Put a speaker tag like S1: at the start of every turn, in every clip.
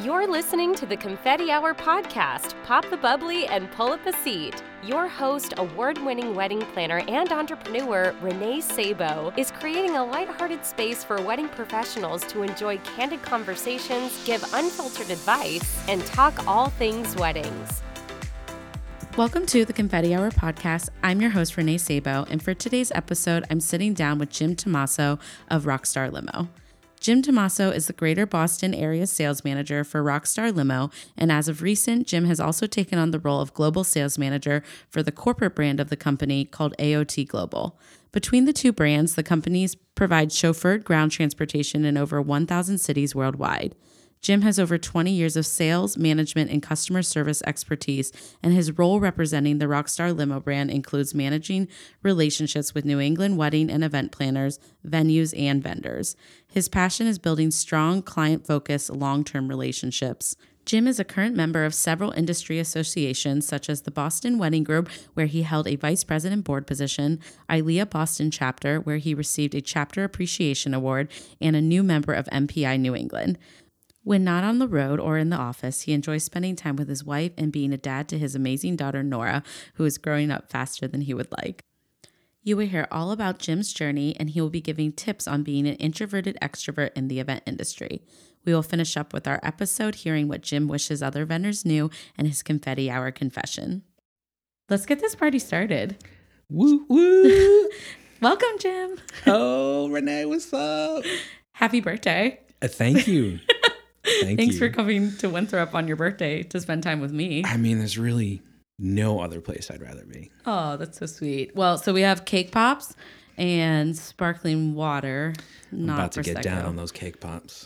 S1: You're listening to the Confetti Hour podcast. Pop the bubbly and pull up a seat. Your host, award winning wedding planner and entrepreneur Renee Sabo, is creating a lighthearted space for wedding professionals to enjoy candid conversations, give unfiltered advice, and talk all things weddings.
S2: Welcome to the Confetti Hour podcast. I'm your host, Renee Sabo, and for today's episode, I'm sitting down with Jim Tomaso of Rockstar Limo. Jim Tomaso is the Greater Boston Area Sales Manager for Rockstar Limo, and as of recent, Jim has also taken on the role of Global Sales Manager for the corporate brand of the company called AOT Global. Between the two brands, the companies provide chauffeured ground transportation in over 1,000 cities worldwide. Jim has over 20 years of sales, management, and customer service expertise, and his role representing the Rockstar Limo brand includes managing relationships with New England wedding and event planners, venues, and vendors. His passion is building strong, client focused, long term relationships. Jim is a current member of several industry associations, such as the Boston Wedding Group, where he held a vice president board position, ILEA Boston chapter, where he received a chapter appreciation award, and a new member of MPI New England. When not on the road or in the office, he enjoys spending time with his wife and being a dad to his amazing daughter, Nora, who is growing up faster than he would like. You will hear all about Jim's journey, and he will be giving tips on being an introverted extrovert in the event industry. We will finish up with our episode hearing what Jim wishes other vendors knew and his confetti hour confession. Let's get this party started.
S3: Woo woo!
S2: Welcome, Jim.
S3: oh, Renee, what's up?
S2: Happy birthday.
S3: Uh, thank you. Thank
S2: Thanks
S3: you.
S2: for coming to Winthrop on your birthday to spend time with me.
S3: I mean, there's really no other place I'd rather be.
S2: Oh, that's so sweet. Well, so we have cake pops and sparkling water. Not
S3: I'm about to
S2: Prosecco.
S3: get down on those cake pops.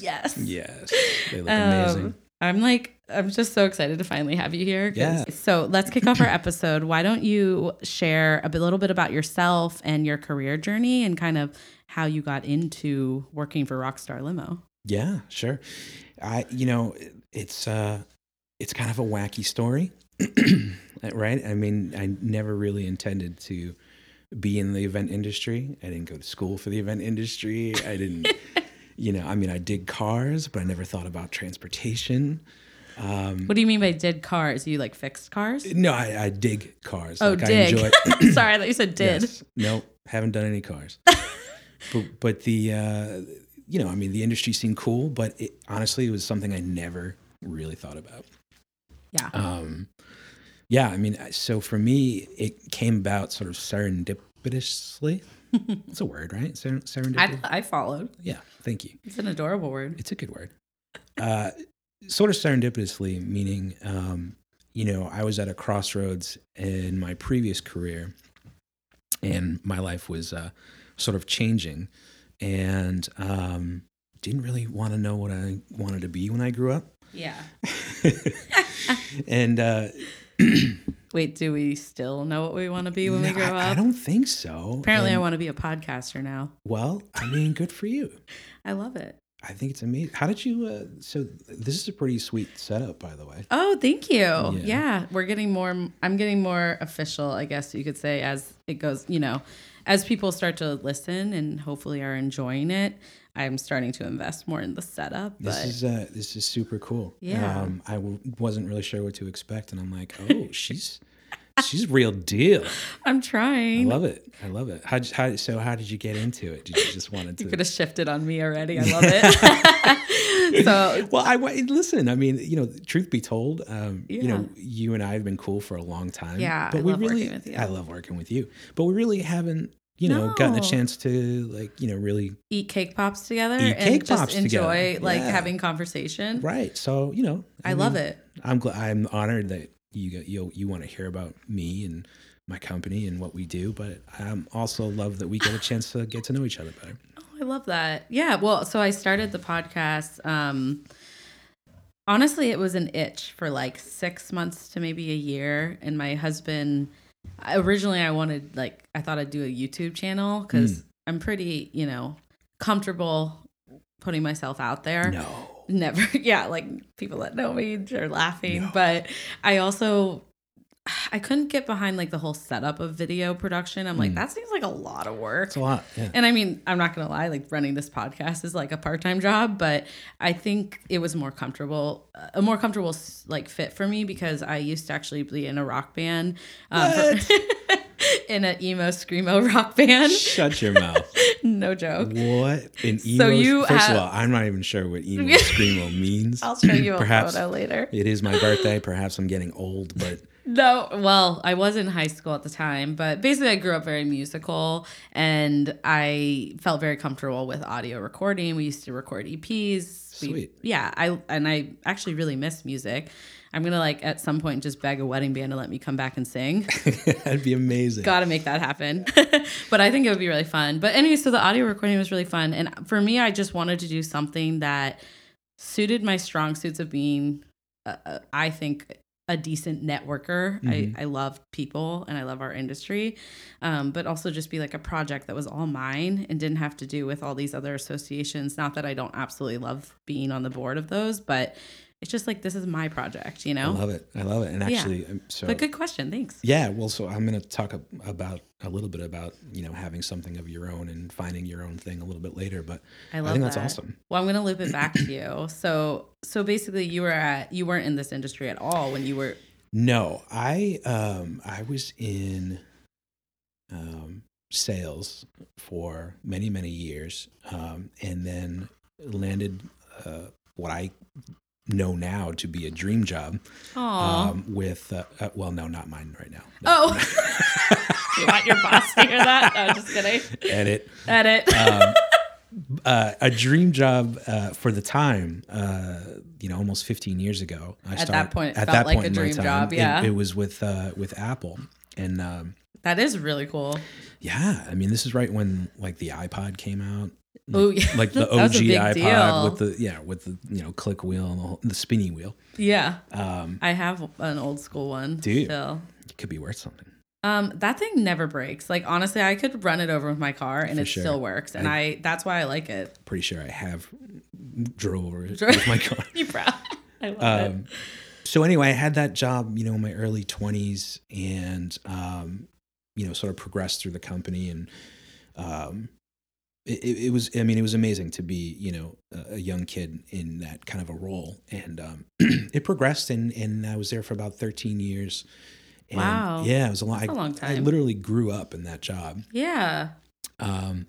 S2: Yes.
S3: yes, they look
S2: Um,
S3: amazing.
S2: I'm like, I'm just so excited to finally have you here. 'cause-
S3: Yeah.
S2: So let's kick off our episode. Why don't you share a bit- little bit about yourself and your career journey and kind of how you got into working for Rockstar Limo?
S3: Yeah, sure. I, you know, it- it's uh, it's kind of a wacky story, right? I mean, I never really intended to be in the event industry. I didn't go to school for the event industry. I didn't, you know, I mean, I did cars, but I never thought about transportation. Mm.
S2: What do you mean by did cars? You like fixed cars?
S3: No, I, I dig cars.
S2: Oh,
S3: like,
S2: dig.
S3: I enjoy.
S2: Sorry, I thought you said did.
S3: Yes. No, haven't done any cars. but but the uh, you know, I mean, the industry seemed cool, but it, honestly, it was something I never really thought about.
S2: Yeah.
S3: Um, yeah, I mean, I- so for me, it came about sort of serendipitously. It's a word, right? Ser-
S2: I,
S3: serendipitous.
S2: I followed.
S3: yeah, thank you.
S2: It's an adorable word.
S3: It's a good word. Uh, sort of serendipitously, meaning, um, you know, I was at a crossroads in my previous career, and my life was uh, sort of changing, and um, didn't really want to know what I wanted to be when I grew up.
S2: Yeah.
S3: and uh,
S2: Wait, do we still know what we want to be when we
S3: no,
S2: grow
S3: I, I
S2: up?
S3: don't think so.
S2: Apparently, I
S3: And-
S2: want to be a podcaster now.
S3: Well, I mean, good for you.
S2: I love it.
S3: I think it's amazing. How did you? Uh, so this is a pretty sweet setup, by the way.
S2: Oh, thank you. Yeah.
S3: Yeah.
S2: we're getting more. I'm getting more official, I guess you could say, as it goes. You know, as people start to listen and hopefully are enjoying it, I'm starting to invest more in the setup. But
S3: This is uh, this is super cool.
S2: Yeah.
S3: um, I w- wasn't really sure what to expect, and I'm like, oh, she's she's real deal.
S2: I'm
S3: I
S2: trying.
S3: love it. I love it. How, how so? How did you get into it? Did you just wanted
S2: You could
S3: to?
S2: have shifted on me already. I love it. so
S3: Well, I wa- listen. I mean, you know, truth be told, um, you know, you and I have been cool for a long time.
S2: Yeah, I
S3: but we
S2: love
S3: really,
S2: working with you.
S3: I love working with you. But we really haven't, you know, gotten a
S2: No.
S3: chance to like, you know, really
S2: eat cake pops together
S3: Eat
S2: and
S3: cake
S2: just
S3: pops together.
S2: enjoy like
S3: Yeah.
S2: having conversation.
S3: right. So you know,
S2: I, love
S3: mean,
S2: it.
S3: I'm glad. I'm honored that you you you want to hear about me and my company and what we do. But I'm also love that we get a chance to get to know each other better.
S2: Oh, I love that. Yeah. Well, so I started the podcast. Um, honestly, it was an itch for like six months to maybe a year. And my husband, I- originally, I wanted, like, I thought I'd do a YouTube channel because I'm pretty, you know, comfortable putting myself out there
S3: No.
S2: never yeah like people that know me are laughing
S3: No.
S2: but i also I couldn't get behind like the whole setup of video production. I'm like, that seems like a lot of work.
S3: It's a lot. Yeah.
S2: And I mean, I'm not gonna lie, like running this podcast is like a part time job, but I think it was more comfortable, a more comfortable s- like fit for me because I used to actually be in a rock band, um, for- in an emo screamo rock band.
S3: Shut your mouth.
S2: No joke.
S3: What an emo.
S2: So you
S3: first
S2: have-
S3: of all, I'm not even sure what emo screamo means.
S2: I'll show you a
S3: Perhaps
S2: photo later.
S3: it is my birthday. Perhaps I'm getting old, but
S2: No, well, I was in high school at the time, but basically I grew up very musical and I felt very comfortable with audio recording. We used to record EPs. We-
S3: Sweet.
S2: yeah, I and I actually really miss music. I'm going to like at some point just beg a wedding band to let me come back and sing.
S3: that'd be amazing.
S2: Got to make that happen. but I think it would be really fun. But anyway, so the audio recording was really fun and for me I just wanted to do something that suited my strong suits of being uh, uh, I think a decent networker.
S3: Mhm.
S2: I, I love people and I love our industry, um, but also just be like a project that was all mine and didn't have to do with all these other associations. Not that I don't absolutely love being on the board of those, but it's just like this is my project, you
S3: I
S2: know.
S3: love it. I love it. And actually, um, so
S2: But good question, thanks.
S3: yeah. Well, so I'm going to talk ab- about a little bit about you know having something of your own and finding your own thing a little bit later. But
S2: I love
S3: I think that's
S2: that.
S3: awesome.
S2: Well, I'm gonna loop it back to you. So, so basically, you were at you weren't in this industry at all when you were.
S3: No, I um I was in um sales for many many years um and then landed uh what I know now to be a dream job
S2: Aw.
S3: um with uh, uh, well no not mine right now.
S2: oh, you want your boss to hear that? No, just kidding.
S3: Edit.
S2: Edit.
S3: um, uh, a dream job uh, for the time, uh, you know, almost 15 years ago. I
S2: At that point, it felt like a
S3: in my
S2: dream
S3: time,
S2: job,
S3: it-
S2: yeah.
S3: it, was with uh, with Apple, and um,
S2: that is really cool.
S3: yeah, I mean, this is right when like the iPod came out,
S2: Oh, yeah.
S3: like the
S2: That was
S3: OG
S2: a big
S3: iPod
S2: deal.
S3: with the yeah with the you know click wheel and the, whole, the spinny wheel.
S2: Yeah,
S3: Um,
S2: I have an old school one.
S3: Do you?
S2: Still.
S3: it could be worth something.
S2: Um, that thing never breaks. Like honestly, I could run it over with my car and
S3: For
S2: it
S3: sure.
S2: still works. And I, that's why I like it.
S3: Pretty sure I have drove over it
S2: Drove-
S3: with my car.
S2: You proud? I love it.
S3: um, so anyway, I had that job, you know, in my early twenties, and um, you know, sort of progressed through the company, and um, it, it it was, I mean, it was amazing to be, you know, a, a young kid in that kind of a role, and um, it progressed, and and I was there for about thirteen years. And
S2: Wow.
S3: Yeah, it was a long.
S2: That's a
S3: I-
S2: long
S3: I
S2: time.
S3: literally grew up in that job.
S2: Yeah.
S3: Um,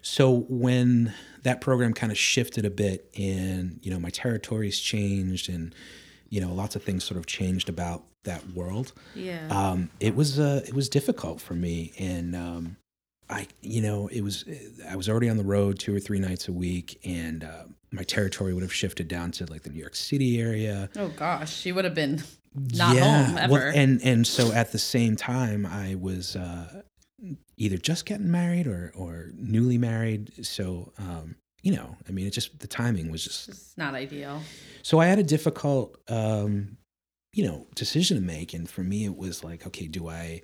S3: so when that program kind of shifted a bit, and you know my territories changed, and you know lots of things sort of changed about that world.
S2: Yeah.
S3: Um, it was uh, it was difficult for me, and um, I you know it was I was already on the road two or three nights a week, and uh, my territory would have shifted down to like the New York City area.
S2: oh gosh, she would have been not home ever.
S3: and and so at the same time, I was uh, either just getting married or or newly married. So um, you know, I mean, it just the timing was just.
S2: it's not ideal.
S3: So I had a difficult, um, you know, decision to make, and for me, it was like, okay, do I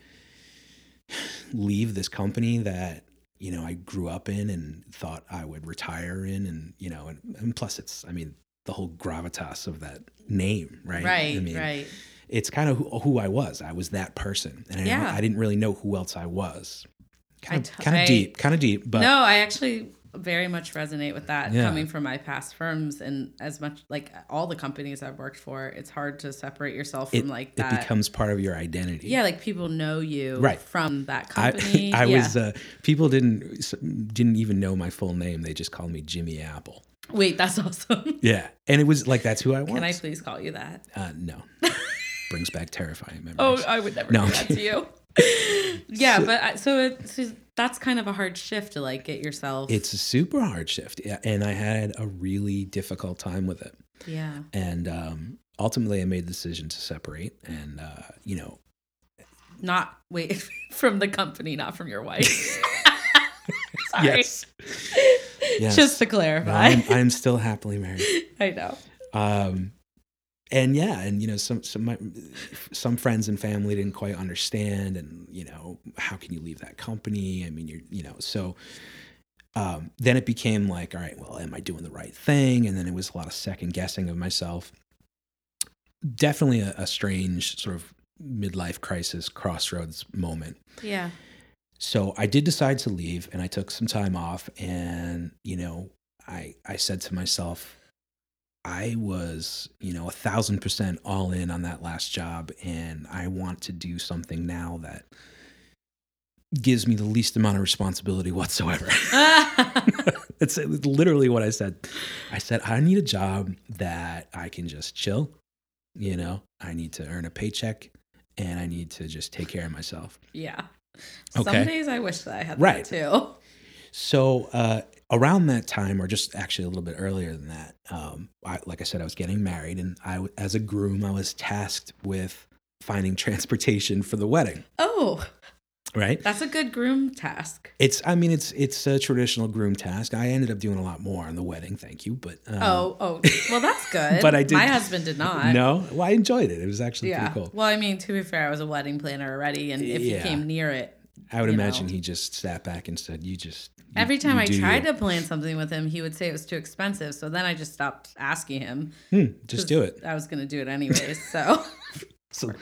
S3: leave this company that you know I grew up in and thought I would retire in, and you know, and, and plus, it's I mean. The whole gravitas of that name, right?
S2: Right.
S3: I mean,
S2: right.
S3: it's kind of who, who I was. I was that person, and I,
S2: Yeah.
S3: I didn't really know who else I was.
S2: I
S3: Kind of,
S2: t-
S3: kind
S2: I-
S3: of deep, kind of deep, but
S2: no, I actually very much resonate with that
S3: Yeah.
S2: coming from my past firms and as much like all the companies I've worked for, it's hard to separate yourself
S3: it,
S2: from like
S3: it
S2: that.
S3: becomes part of your identity.
S2: yeah, like people know you
S3: Right.
S2: from that
S3: I,
S2: company.
S3: I
S2: yeah.
S3: was. Uh, people didn't s- didn't even know my full name. They just called me Jimmy Apple.
S2: Wait, that's awesome.
S3: Yeah, and it was like that's who I was.
S2: Can I please call you that?
S3: uh, no, brings back terrifying memories.
S2: Oh, I would never
S3: No,
S2: do
S3: I'm
S2: that to you. yeah, but I, so, it, so that's kind of a hard shift to like get yourself.
S3: it's a super hard shift, yeah, and I had a really difficult time with it.
S2: yeah,
S3: And um, ultimately, I made the decision to separate, and uh, you know,
S2: not wait from the company, not from your wife. Sorry.
S3: Yes. Yes.
S2: Just to
S3: No,
S2: clarify,
S3: I'm, I'm still happily married.
S2: I know.
S3: Um, and yeah, and you know, some some my, some friends and family didn't quite understand, and you know, how can you leave that company? I mean, you're you know, so um, then it became like, all right, well, am I doing the right thing? And then it was a lot of second guessing of myself. Definitely a, a strange sort of midlife crisis crossroads moment.
S2: Yeah.
S3: So I did decide to leave and I took some time off and you know, I I said to myself I was, you know, a thousand percent all in on that last job and I want to do something now that gives me the least amount of responsibility whatsoever. That's literally what I said. I said, I need a job that I can just chill. You know, I need to earn a paycheck and I need to just take care of myself.
S2: yeah. Some
S3: Okay.
S2: days I wish that I had
S3: Right.
S2: that too.
S3: So, uh, around that time, or just actually a little bit earlier than that, um, I, like I said, I was getting married and I, w- as a groom, I was tasked with finding transportation for the wedding,
S2: Oh,
S3: right?
S2: that's a good groom task.
S3: It's, I mean, it's, it's a traditional groom task. I ended up doing a lot more on the wedding, thank you, but. Um,
S2: oh, oh, well, that's good.
S3: But I did-
S2: My husband did not.
S3: No, well, I enjoyed it. It was actually
S2: Yeah.
S3: pretty cool.
S2: Well, I mean, to be fair, I was a wedding planner already, and if you
S3: Yeah.
S2: came near it,
S3: I would
S2: you
S3: imagine
S2: know.
S3: he just sat back and said, "You just." you-
S2: every time
S3: you
S2: I
S3: do
S2: tried
S3: you.
S2: to plan something with him, he would say it was too expensive. So then I just stopped asking him.
S3: Hmm, just do it.
S2: I was going to do it anyways. So
S3: So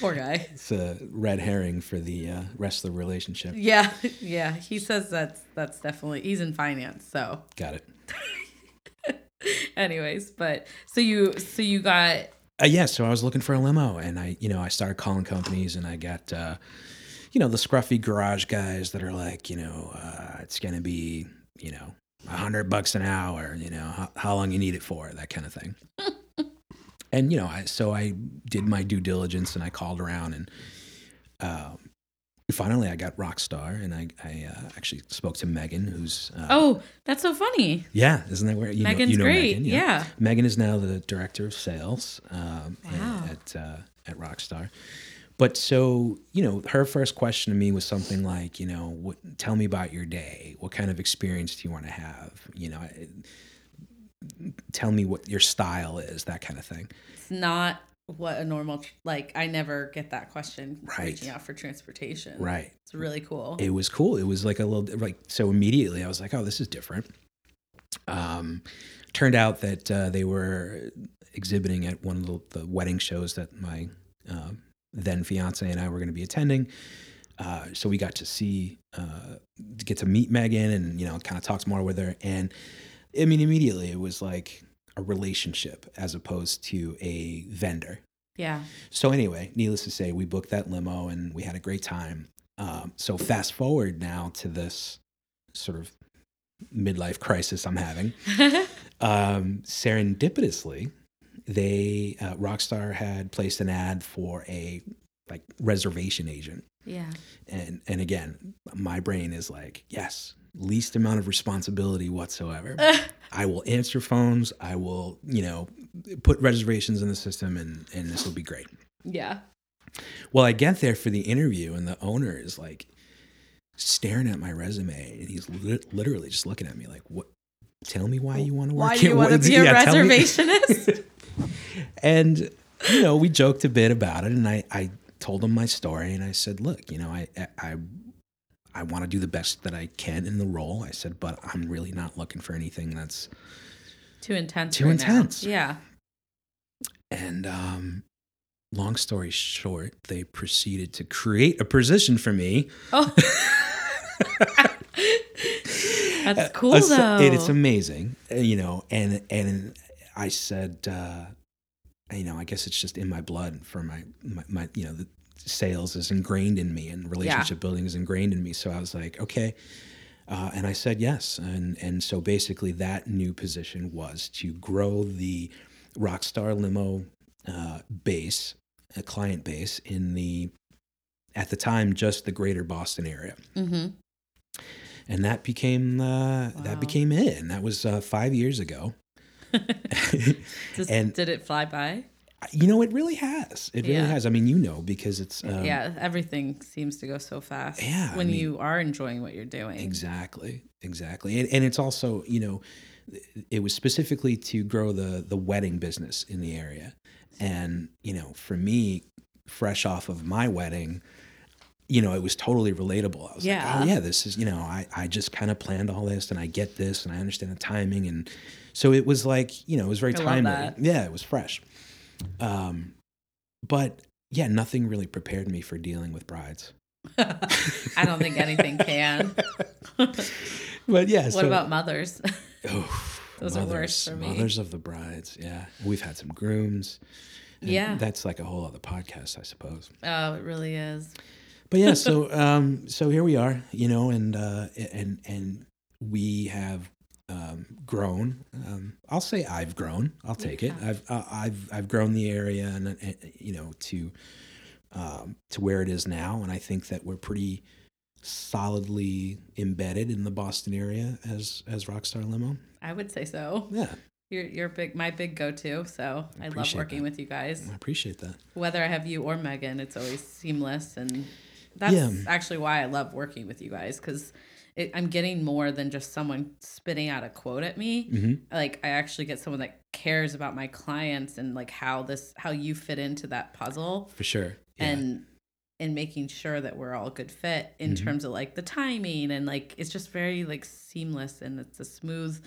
S2: poor guy.
S3: it's a red herring for the uh, rest of the relationship.
S2: Yeah, yeah. He says that's that's definitely he's in finance. So,
S3: Got it.
S2: anyways, but so you so you got
S3: Uh, yeah, so I was looking for a limo, and I, you know, I started calling companies, and I got, uh, you know, the scruffy garage guys that are like, you know, uh, it's gonna be, you know, a hundred bucks an hour. You know, how, how long you need it for, that kind of thing. and you know, I so I did my due diligence, and I called around, and um, finally I got Rockstar, and I, I uh, actually spoke to Megan, who's, uh,
S2: oh that's so funny.
S3: yeah, isn't that where you
S2: Megan's
S3: know, you know
S2: great.
S3: Megan,
S2: yeah.
S3: Megan is now the director of sales um,
S2: Wow.
S3: at uh, at Rockstar. But so you know, her first question to me was something like, you know, what, tell me about your day. What kind of experience do you want to have? You know, I- tell me what your style is, that kind of thing.
S2: It's not what a normal tr- like. I never get that question.
S3: Right.
S2: Reaching out for transportation.
S3: Right.
S2: It's really cool.
S3: It was cool. It was like a little like so immediately I was like, oh, this is different. Um, turned out that uh, they were exhibiting at one of the, the wedding shows that my uh, then fiance and I were going to be attending. Uh, so we got to see, uh, to get to meet Megan, and you know, kind of talked more with her. And I mean, immediately it was like a relationship as opposed to a vendor.
S2: yeah.
S3: So anyway, needless to say, we booked that limo and we had a great time. Um, so fast forward now to this sort of midlife crisis I'm having. Um, serendipitously, they uh, Rockstar had placed an ad for a like reservation agent,
S2: yeah.
S3: and and again, my brain is like, yes, least amount of responsibility whatsoever. I will answer phones. I will, you know, put reservations in the system, and and this will be great.
S2: yeah.
S3: Well, I get there for the interview, and the owner is like staring at my resume, and he's lit literally just looking at me like, "What? Tell me why you want to work
S2: Why do
S3: here.
S2: you want to
S3: What-
S2: be a
S3: yeah, tell me."
S2: reservationist?
S3: and you know, we joked a bit about it, and I I told him my story, and I said, "Look, you know, I I." I want to do the best that I can in the role. I said, but I'm really not looking for anything that's
S2: Too intense.
S3: Too
S2: right now.
S3: intense.
S2: Yeah.
S3: And um, long story short, they proceeded to create a position for me.
S2: Oh. That's cool
S3: Uh, so-
S2: though.
S3: It, it's amazing, uh, you know. And and I said, uh, you know, I guess it's just in my blood for my my, my you know the sales is ingrained in me and relationship building is ingrained in me. So I was like, okay. Uh, and I said yes, and and so basically that new position was to grow the Rockstar Limo uh, base, a client base in the at the time just the greater Boston area
S2: hmm
S3: and that became
S2: Wow.
S3: uh, that became it and that was uh, five years ago
S2: Mm-hmm. Just,
S3: And-
S2: did it fly by?
S3: you know it really has it really
S2: Yeah.
S3: has i mean you know because it's um,
S2: yeah. Everything seems to go so fast.
S3: Yeah, I
S2: When
S3: mean-
S2: you are enjoying what you're doing.
S3: exactly exactly and, and it's also you know it was specifically to grow the the wedding business in the area and you know for me fresh off of my wedding you know it was totally relatable i was
S2: Yeah.
S3: like oh yeah this is you know i, I just kind of planned all this and i get this and i understand the timing and so it was like you know it was very
S2: I love
S3: timely
S2: that.
S3: yeah it was fresh um but yeah, nothing really prepared me for dealing with brides.
S2: I don't think anything can. what
S3: But yeah, so,
S2: about mothers?
S3: oh,
S2: Those are
S3: mothers,
S2: worse for me.
S3: Mothers of the brides. Yeah, we've had some grooms. and
S2: Yeah.
S3: that's like a whole other podcast, I suppose.
S2: oh, it really is.
S3: But yeah, so um, so here we are, you know, and uh, and and we have um, grown. Um, I'll say I've grown. I'll take it. I've I- I've I've grown the area, and, uh, and you know to um, to where it is now, and I think that we're pretty solidly embedded in the Boston area as as Rockstar Limo.
S2: I would say so.
S3: Yeah,
S2: You're, you're big, my big go-to. So I, love
S3: Appreciate
S2: working
S3: that.
S2: with you guys.
S3: I appreciate that.
S2: Whether I have you or Megan, it's always seamless, and that's
S3: Yeah.
S2: actually why I love working with you guys because I'm getting more than just someone spitting out a quote at me.
S3: hmm
S2: Like I actually get someone that cares about my clients and like how this, how you fit into that puzzle.
S3: For sure. Yeah.
S2: and and making sure that we're all a good fit in
S3: Mhm.
S2: terms of like the timing and like it's just very like seamless and it's a smooth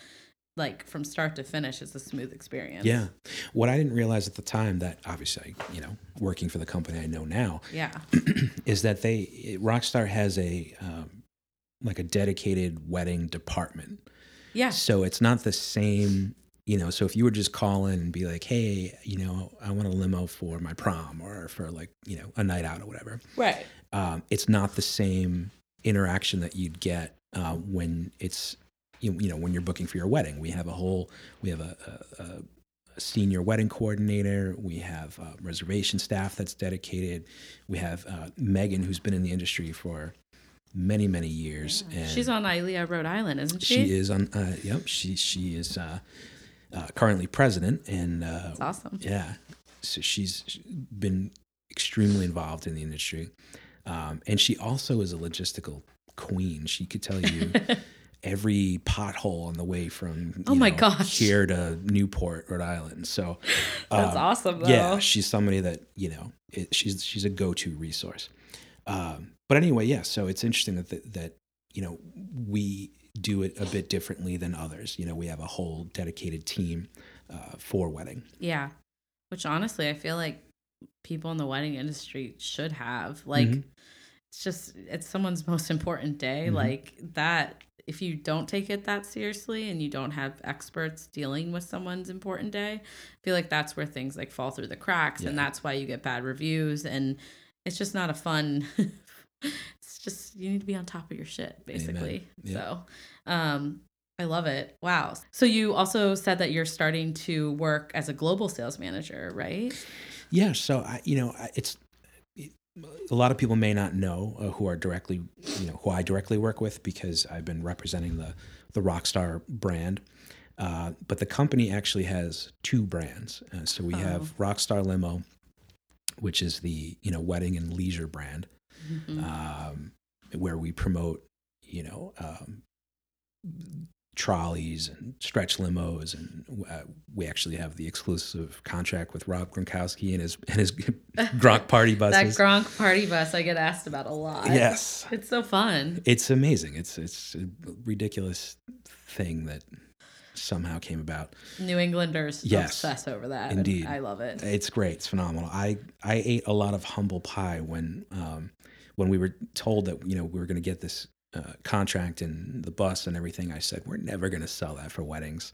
S2: like from start to finish it's a smooth experience
S3: yeah, what I didn't realize at the time that obviously, you know, working for the company I know now,
S2: yeah
S3: is that they Rockstar has a um, like a dedicated wedding department.
S2: yeah
S3: So it's not the same, you know. So if you were just call in and be like, "Hey, you know, I want a limo for my prom or for like, you know, a night out or whatever,"
S2: right
S3: um, it's not the same interaction that you'd get uh, when it's you, you know when you're booking for your wedding. We have a whole we have a, a, a senior wedding coordinator. We have uh, reservation staff that's dedicated. We have uh, Megan, who's been in the industry for many many years, and
S2: she's on Ilea, Rhode Island isn't she,
S3: she is on. Uh, yep, she she is uh, uh, currently president, and uh,
S2: that's awesome
S3: yeah. So she's been extremely involved in the industry. Um, and she also is a logistical queen. She could tell you every pothole on the way from you
S2: Oh my
S3: know,
S2: gosh.
S3: here to Newport, Rhode Island. So
S2: that's
S3: um,
S2: awesome though
S3: yeah, she's somebody that you know. It, she's she's a go-to resource. Um, but anyway, yeah. So it's interesting that that, that you know we do it a bit differently than others. You know, we have a whole dedicated team uh, for wedding.
S2: Yeah. Which honestly, I feel like people in the wedding industry should have. Like,
S3: Mhm.
S2: it's just, it's someone's most important day.
S3: Mhm.
S2: Like, that, if you don't take it that seriously and you don't have experts dealing with someone's important day, I feel like that's where things like fall through the cracks. And
S3: Yeah.
S2: that's why you get bad reviews. And it's just not a fun. it's just, you need to be on top of your shit, basically.
S3: Yeah.
S2: So, um, I love it. Wow. So you also said that you're starting to work as a global sales manager, right?
S3: Yeah, so I, you know, I- it's it- a lot of people may not know uh, who are directly, you know, who I directly work with because I've been representing the the Rockstar brand. Uh, but the company actually has two brands. Uh, so we have Rockstar Limo, which is the you know wedding and leisure brand, um, where we promote you know um, trolleys and stretch limos, and uh, we actually have the exclusive contract with Rob Gronkowski and his and his Gronk party
S2: that
S3: buses.
S2: Gronk party bus I get asked about a lot.
S3: yes,
S2: It's so fun.
S3: it's amazing. It's it's a ridiculous thing that somehow came about.
S2: New Englanders
S3: Yes.
S2: obsess over that.
S3: Indeed. Eh.
S2: I love it.
S3: It's great. It's phenomenal. I I ate a lot of humble pie when um when we were told that you know we were going to get this uh, contract and the bus and everything. I said we're never going to sell that for weddings.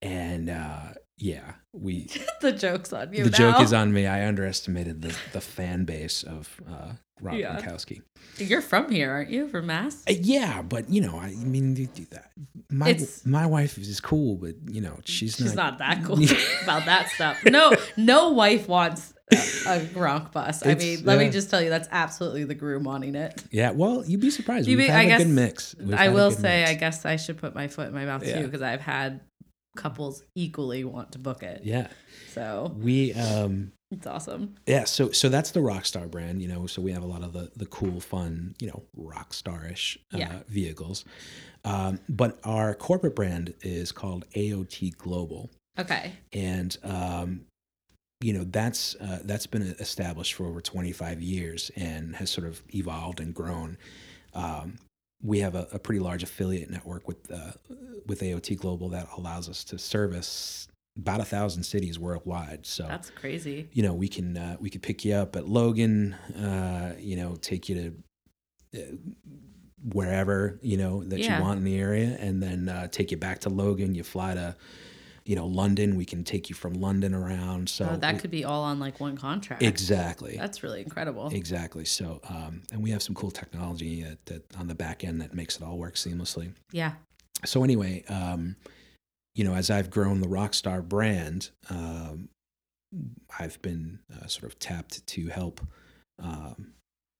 S3: and uh, yeah, we
S2: the joke's on you.
S3: the joke
S2: now.
S3: is on me. I underestimated the the fan base of uh, Rob
S2: Yeah.
S3: Gronkowski.
S2: You're from here, aren't you? From Mass?
S3: Uh, yeah, but you know, I mean, you do that. My
S2: It's-
S3: my wife is cool, but you know, she's,
S2: She's not
S3: not.
S2: that cool about that stuff. No, no wife wants a, a Gronk bus. I
S3: It's-
S2: mean, let me
S3: yeah.
S2: just tell you, that's absolutely the groom wanting it.
S3: Yeah, well, you'd be surprised.
S2: You
S3: We've
S2: mean-
S3: had
S2: I
S3: a
S2: guess-
S3: good mix. We've
S2: I
S3: had a
S2: will
S3: good
S2: say,
S3: mix.
S2: I guess I should put my foot in my mouth too
S3: Yeah.
S2: because I've had couples equally want to book it.
S3: yeah,
S2: So
S3: we um,
S2: it's awesome.
S3: yeah. So so that's the Rockstar brand, you know. So we have a lot of the the cool, fun, you know, rockstarish uh,
S2: Yeah.
S3: vehicles. Um, but our corporate brand is called AOT Global.
S2: Okay.
S3: and um, you know that's uh, that's been established for over 25 years and has sort of evolved and grown. Um, we have a, a pretty large affiliate network with uh, with AOT Global that allows us to service about a thousand cities worldwide. So
S2: That's crazy.
S3: you know we can uh, we could pick you up at Logan, uh, you know, take you to uh, wherever you know that
S2: Yeah.
S3: you want in the area, and then uh, take you back to Logan. You fly to you know London. We can take you from London around. So
S2: oh, that
S3: we-
S2: could be all on like one contract.
S3: exactly.
S2: That's really incredible.
S3: Exactly. So, um, and we have some cool technology that, that on the back end that makes it all work seamlessly.
S2: Yeah.
S3: So anyway, um, you know, as I've grown the Rockstar brand, um, I've been uh, sort of tapped to help, um,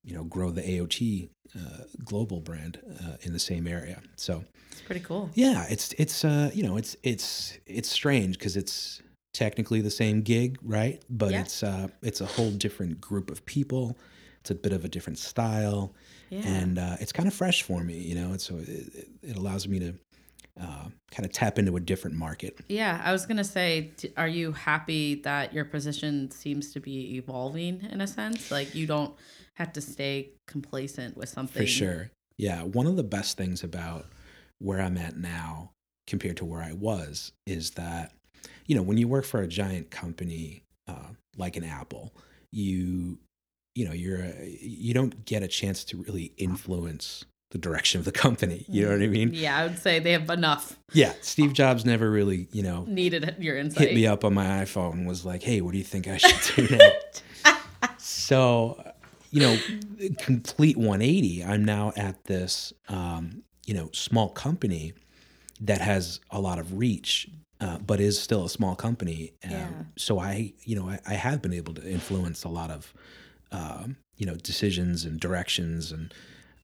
S3: you know, grow the AOT uh, global brand uh, in the same area. So
S2: It's pretty cool.
S3: yeah, it's it's uh, you know it's it's it's strange because it's technically the same gig, right? But
S2: Yeah.
S3: it's uh, it's a whole different group of people. It's a bit of a different style
S2: Yeah.
S3: and uh, it's kind of fresh for me, you know. And so it, it- it allows me to uh, kind of tap into a different market.
S2: yeah. I was going to say, d- are you happy that your position seems to be evolving in a sense? Like you don't have to stay complacent with something.
S3: For sure. Yeah. One of the best things about where I'm at now compared to where I was is that, you know, when you work for a giant company uh, like an Apple, you, you know, you're, a, you don't get a chance to really influence the direction of the company. You know what I mean?
S2: Mm-hmm. Yeah. I would say they have enough
S3: Yeah. Steve Jobs never really, you know,
S2: needed your insight.
S3: hit me up on my iPhone and was like, "Hey, what do you think I should do now?" so, you know, complete 180. I'm now at this, um, you know, small company that has a lot of reach, uh, but is still a small company. Um,
S2: Yeah.
S3: So I, you know, I, I have been able to influence a lot of, um, you know, decisions and directions, and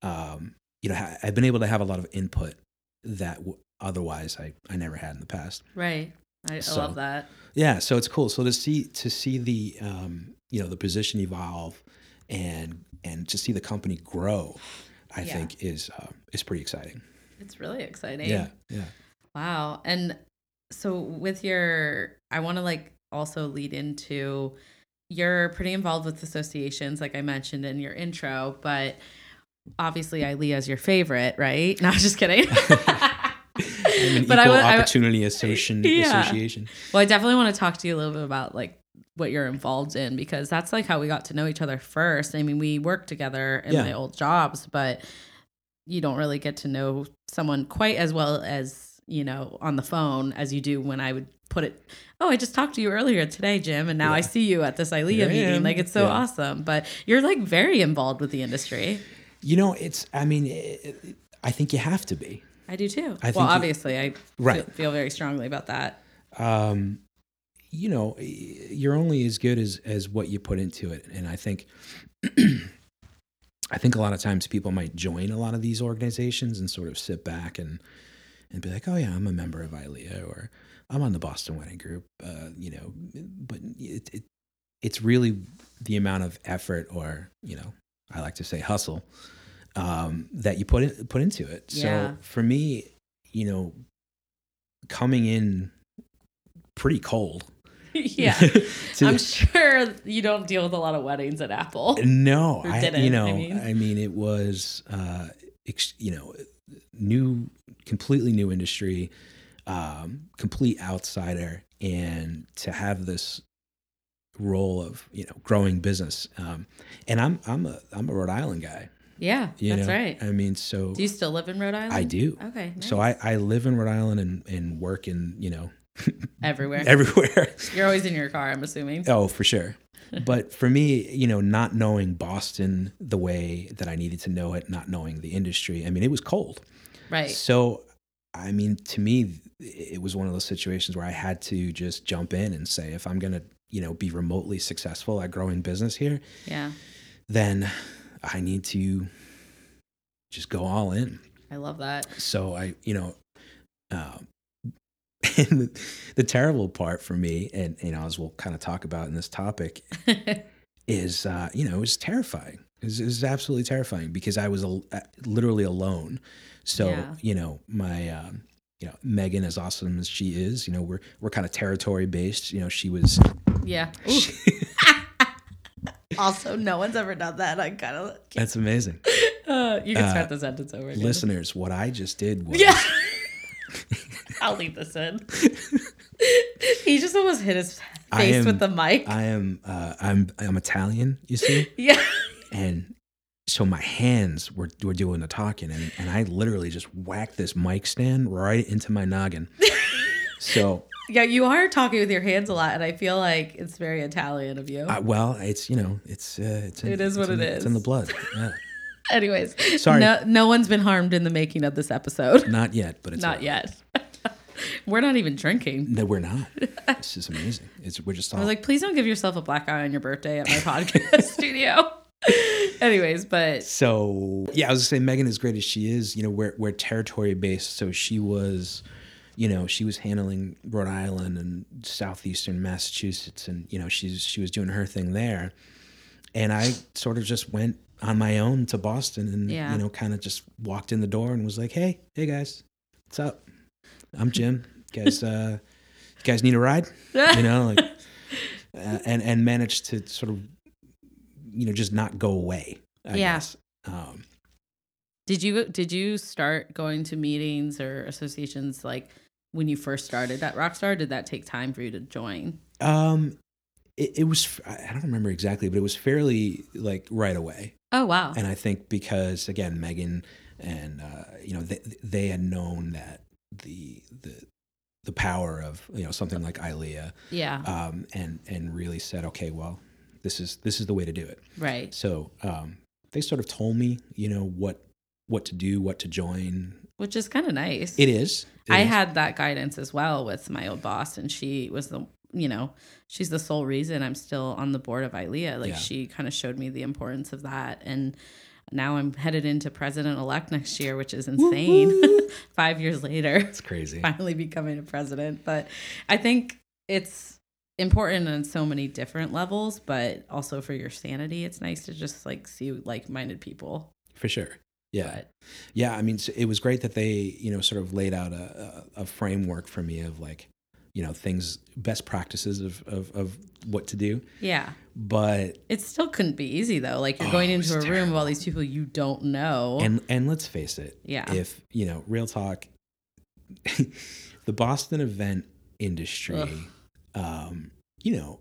S3: um, you know, ha- I've been able to have a lot of input that w- otherwise I, I never had in the past.
S2: Right. I, I
S3: So-
S2: love that.
S3: Yeah, so it's cool. So to see to see the um, you know the position evolve and and to see the company grow, I
S2: Yeah.
S3: think is uh, is pretty exciting.
S2: It's really exciting.
S3: Yeah, yeah.
S2: Wow. And so with your I want to like also lead into you're pretty involved with associations like I mentioned in your intro, but obviously Ilea's your favorite, right? No, just kidding.
S3: I'm an
S2: but I would-
S3: equal
S2: I would-
S3: opportunity association.
S2: Yeah.
S3: association.
S2: Well, I definitely want to talk to you a little bit about like what you're involved in because that's like how we got to know each other first. I mean, we worked together in
S3: Yeah.
S2: my old jobs, but you don't really get to know someone quite as well as, you know, on the phone as you do when I would put it, oh, I just talked to you earlier today, Jim, and now I
S3: Yeah.
S2: see you at this ILEA
S3: Here I
S2: meeting.
S3: am.
S2: Like it's so
S3: Yeah.
S2: awesome. But you're like very involved with the industry.
S3: You know, it's. I mean, it, it, I think you have to be
S2: I do too.
S3: I think
S2: well,
S3: you-
S2: obviously, I
S3: right.
S2: feel, feel very strongly about that.
S3: um, you know, y- you're only as good as as what you put into it. And I think, I think a lot of times people might join a lot of these organizations and sort of sit back and and be like, oh yeah, I'm a member of ILEA or I'm on the Boston Wedding Group, uh, you know, but it, it it's really the amount of effort or you know, I like to say hustle um, that you put in, put into it.
S2: Yeah.
S3: So for me, you know, coming in pretty cold.
S2: yeah.
S3: to-
S2: I'm sure you don't deal with a lot of weddings at Apple.
S3: no,
S2: Or
S3: I,
S2: didn't, I
S3: you know, I
S2: mean.
S3: mean, it was, uh, ex- you know, new, completely new industry, um, complete outsider, and to have this role of you know growing business. Um, and I'm I'm a I'm a Rhode Island guy.
S2: Yeah,
S3: You
S2: that's
S3: know?
S2: right.
S3: I mean, so
S2: Do you still live in Rhode Island?
S3: I do.
S2: Okay.
S3: So I, I live in Rhode Island and, and work in, you know,
S2: everywhere.
S3: everywhere.
S2: You're always in your car, I'm assuming.
S3: Oh, for sure. But for me, you know, not knowing Boston the way that I needed to know it, not knowing the industry, I mean, it was cold.
S2: Right.
S3: So, I mean, to me, it was one of those situations where I had to just jump in and say, if I'm going to, you know, be remotely successful at growing business here,
S2: Yeah.
S3: then I need to just go all in.
S2: I love that.
S3: So I, you know, um, and the, the terrible part for me, and you know, as we'll kind of talk about in this topic, is uh, you know, it was terrifying. It was, it was absolutely terrifying because I was al- uh, literally alone. So
S2: Yeah.
S3: you know, my um, you know, Megan, as awesome as she is, you know, we're we're kind of territory based. You know, she was
S2: yeah. Ooh. also, no one's ever done that. I kind of.
S3: that's amazing.
S2: Uh, you can start
S3: Uh,
S2: the sentence over. again.
S3: Listeners, what I just did was
S2: Yeah. I'll leave this in. He just almost hit his
S3: I
S2: face
S3: am-
S2: with the mic.
S3: I am uh, I'm I'm Italian, you see,
S2: yeah.
S3: and so my hands were were doing the talking, and and I literally just whacked this mic stand right into my noggin. so
S2: Yeah, you are talking with your hands a lot, and I feel like it's very Italian of you.
S3: uh, well, it's you know it's uh, it's in,
S2: It is
S3: it's
S2: what
S3: in
S2: it
S3: the- It's in the
S2: is.
S3: blood. Yeah.
S2: Anyways,
S3: Sorry.
S2: No, no one's been harmed in the making of this episode.
S3: Not yet, but it's
S2: Not yet. We're not even drinking.
S3: No, we're not. this is amazing. It's we're just
S2: I
S3: all
S2: was like, please don't give yourself a black eye on your birthday at my podcast studio. Anyways, but
S3: So yeah, I was gonna say Megan, as great as she is, you know, we're we're territory based, so she was, you know, she was handling Rhode Island and southeastern Massachusetts, and you know, she's she was doing her thing there, and I sort of just went on my own to Boston, and
S2: Yeah.
S3: you know, kind of just walked in the door and was like, hey, hey guys, what's up? I'm Jim. You guys, uh, you guys need a ride? You know, like, uh, and and managed to sort of, you know, just not go away. I
S2: Yeah.
S3: guess. Um,
S2: did you did you start going to meetings or associations like when you first started at Rockstar? Did that take time for you to join?
S3: um, it, it was f- I I don't remember exactly, but it was fairly like right away.
S2: Oh wow.
S3: And I think because again, Megan and uh, you know they they had known that the the the power of you know something like ILEA,
S2: yeah.
S3: um, and and really said, okay, well, this is this is the way to do it.
S2: Right.
S3: So um, they sort of told me, you know, what what to do, what to join.
S2: Which is kind of nice.
S3: It is. it
S2: I
S3: is.
S2: had that guidance as well with my old boss, and she was the you know she's the sole reason I'm still on the board of ILEA. Like
S3: Yeah.
S2: she kind of showed me the importance of that, and now I'm headed into president elect next year, which is insane. Five years later,
S3: It's crazy.
S2: finally becoming a president, but I think it's important on so many different levels, but also for your sanity, it's nice to just like see like minded people.
S3: For sure. Yeah.
S2: But
S3: Yeah, I mean, s- it was great that they, you know, sort of laid out a, a, a framework for me of like, you know, things, best practices of, of, of what to do.
S2: yeah.
S3: But,
S2: It still couldn't be easy though. Like you're
S3: Oh,
S2: going
S3: it was
S2: into a room with all these people you don't know.
S3: and, and let's face it,
S2: yeah.
S3: if, you know, real talk, the Boston event industry, um, you know,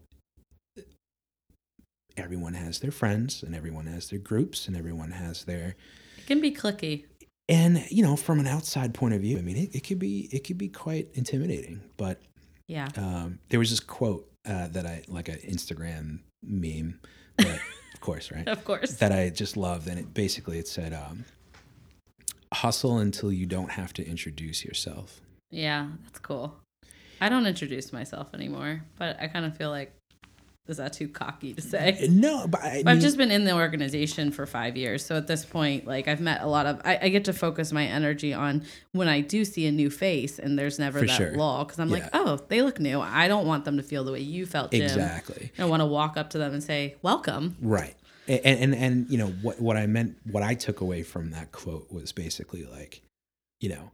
S3: everyone has their friends and everyone has their groups and everyone has their,
S2: it can be clicky.
S3: and, you know, from an outside point of view, I mean, it, it could be, it could be quite intimidating, but
S2: Yeah.
S3: um, there was this quote uh, that I like an Instagram meme, that, of course, right?
S2: Of course.
S3: That I just loved, and it basically it said, um, "Hustle until you don't have to introduce yourself."
S2: yeah, that's cool. I don't introduce myself anymore, but I kind of feel like is that too cocky to say?
S3: No, but I
S2: But I've
S3: mean-
S2: just been in the organization for five years. So at this point, like I've met a lot of, I, I get to focus my energy on when I do see a new face and there's never
S3: For
S2: that
S3: sure.
S2: lull because I'm like,
S3: Yeah.
S2: oh, they look new. I don't want them to feel the way you felt, Jim.
S3: exactly
S2: I want to walk up to them and say, welcome.
S3: right, and, and and you know what what I meant, what I took away from that quote was basically like, you know,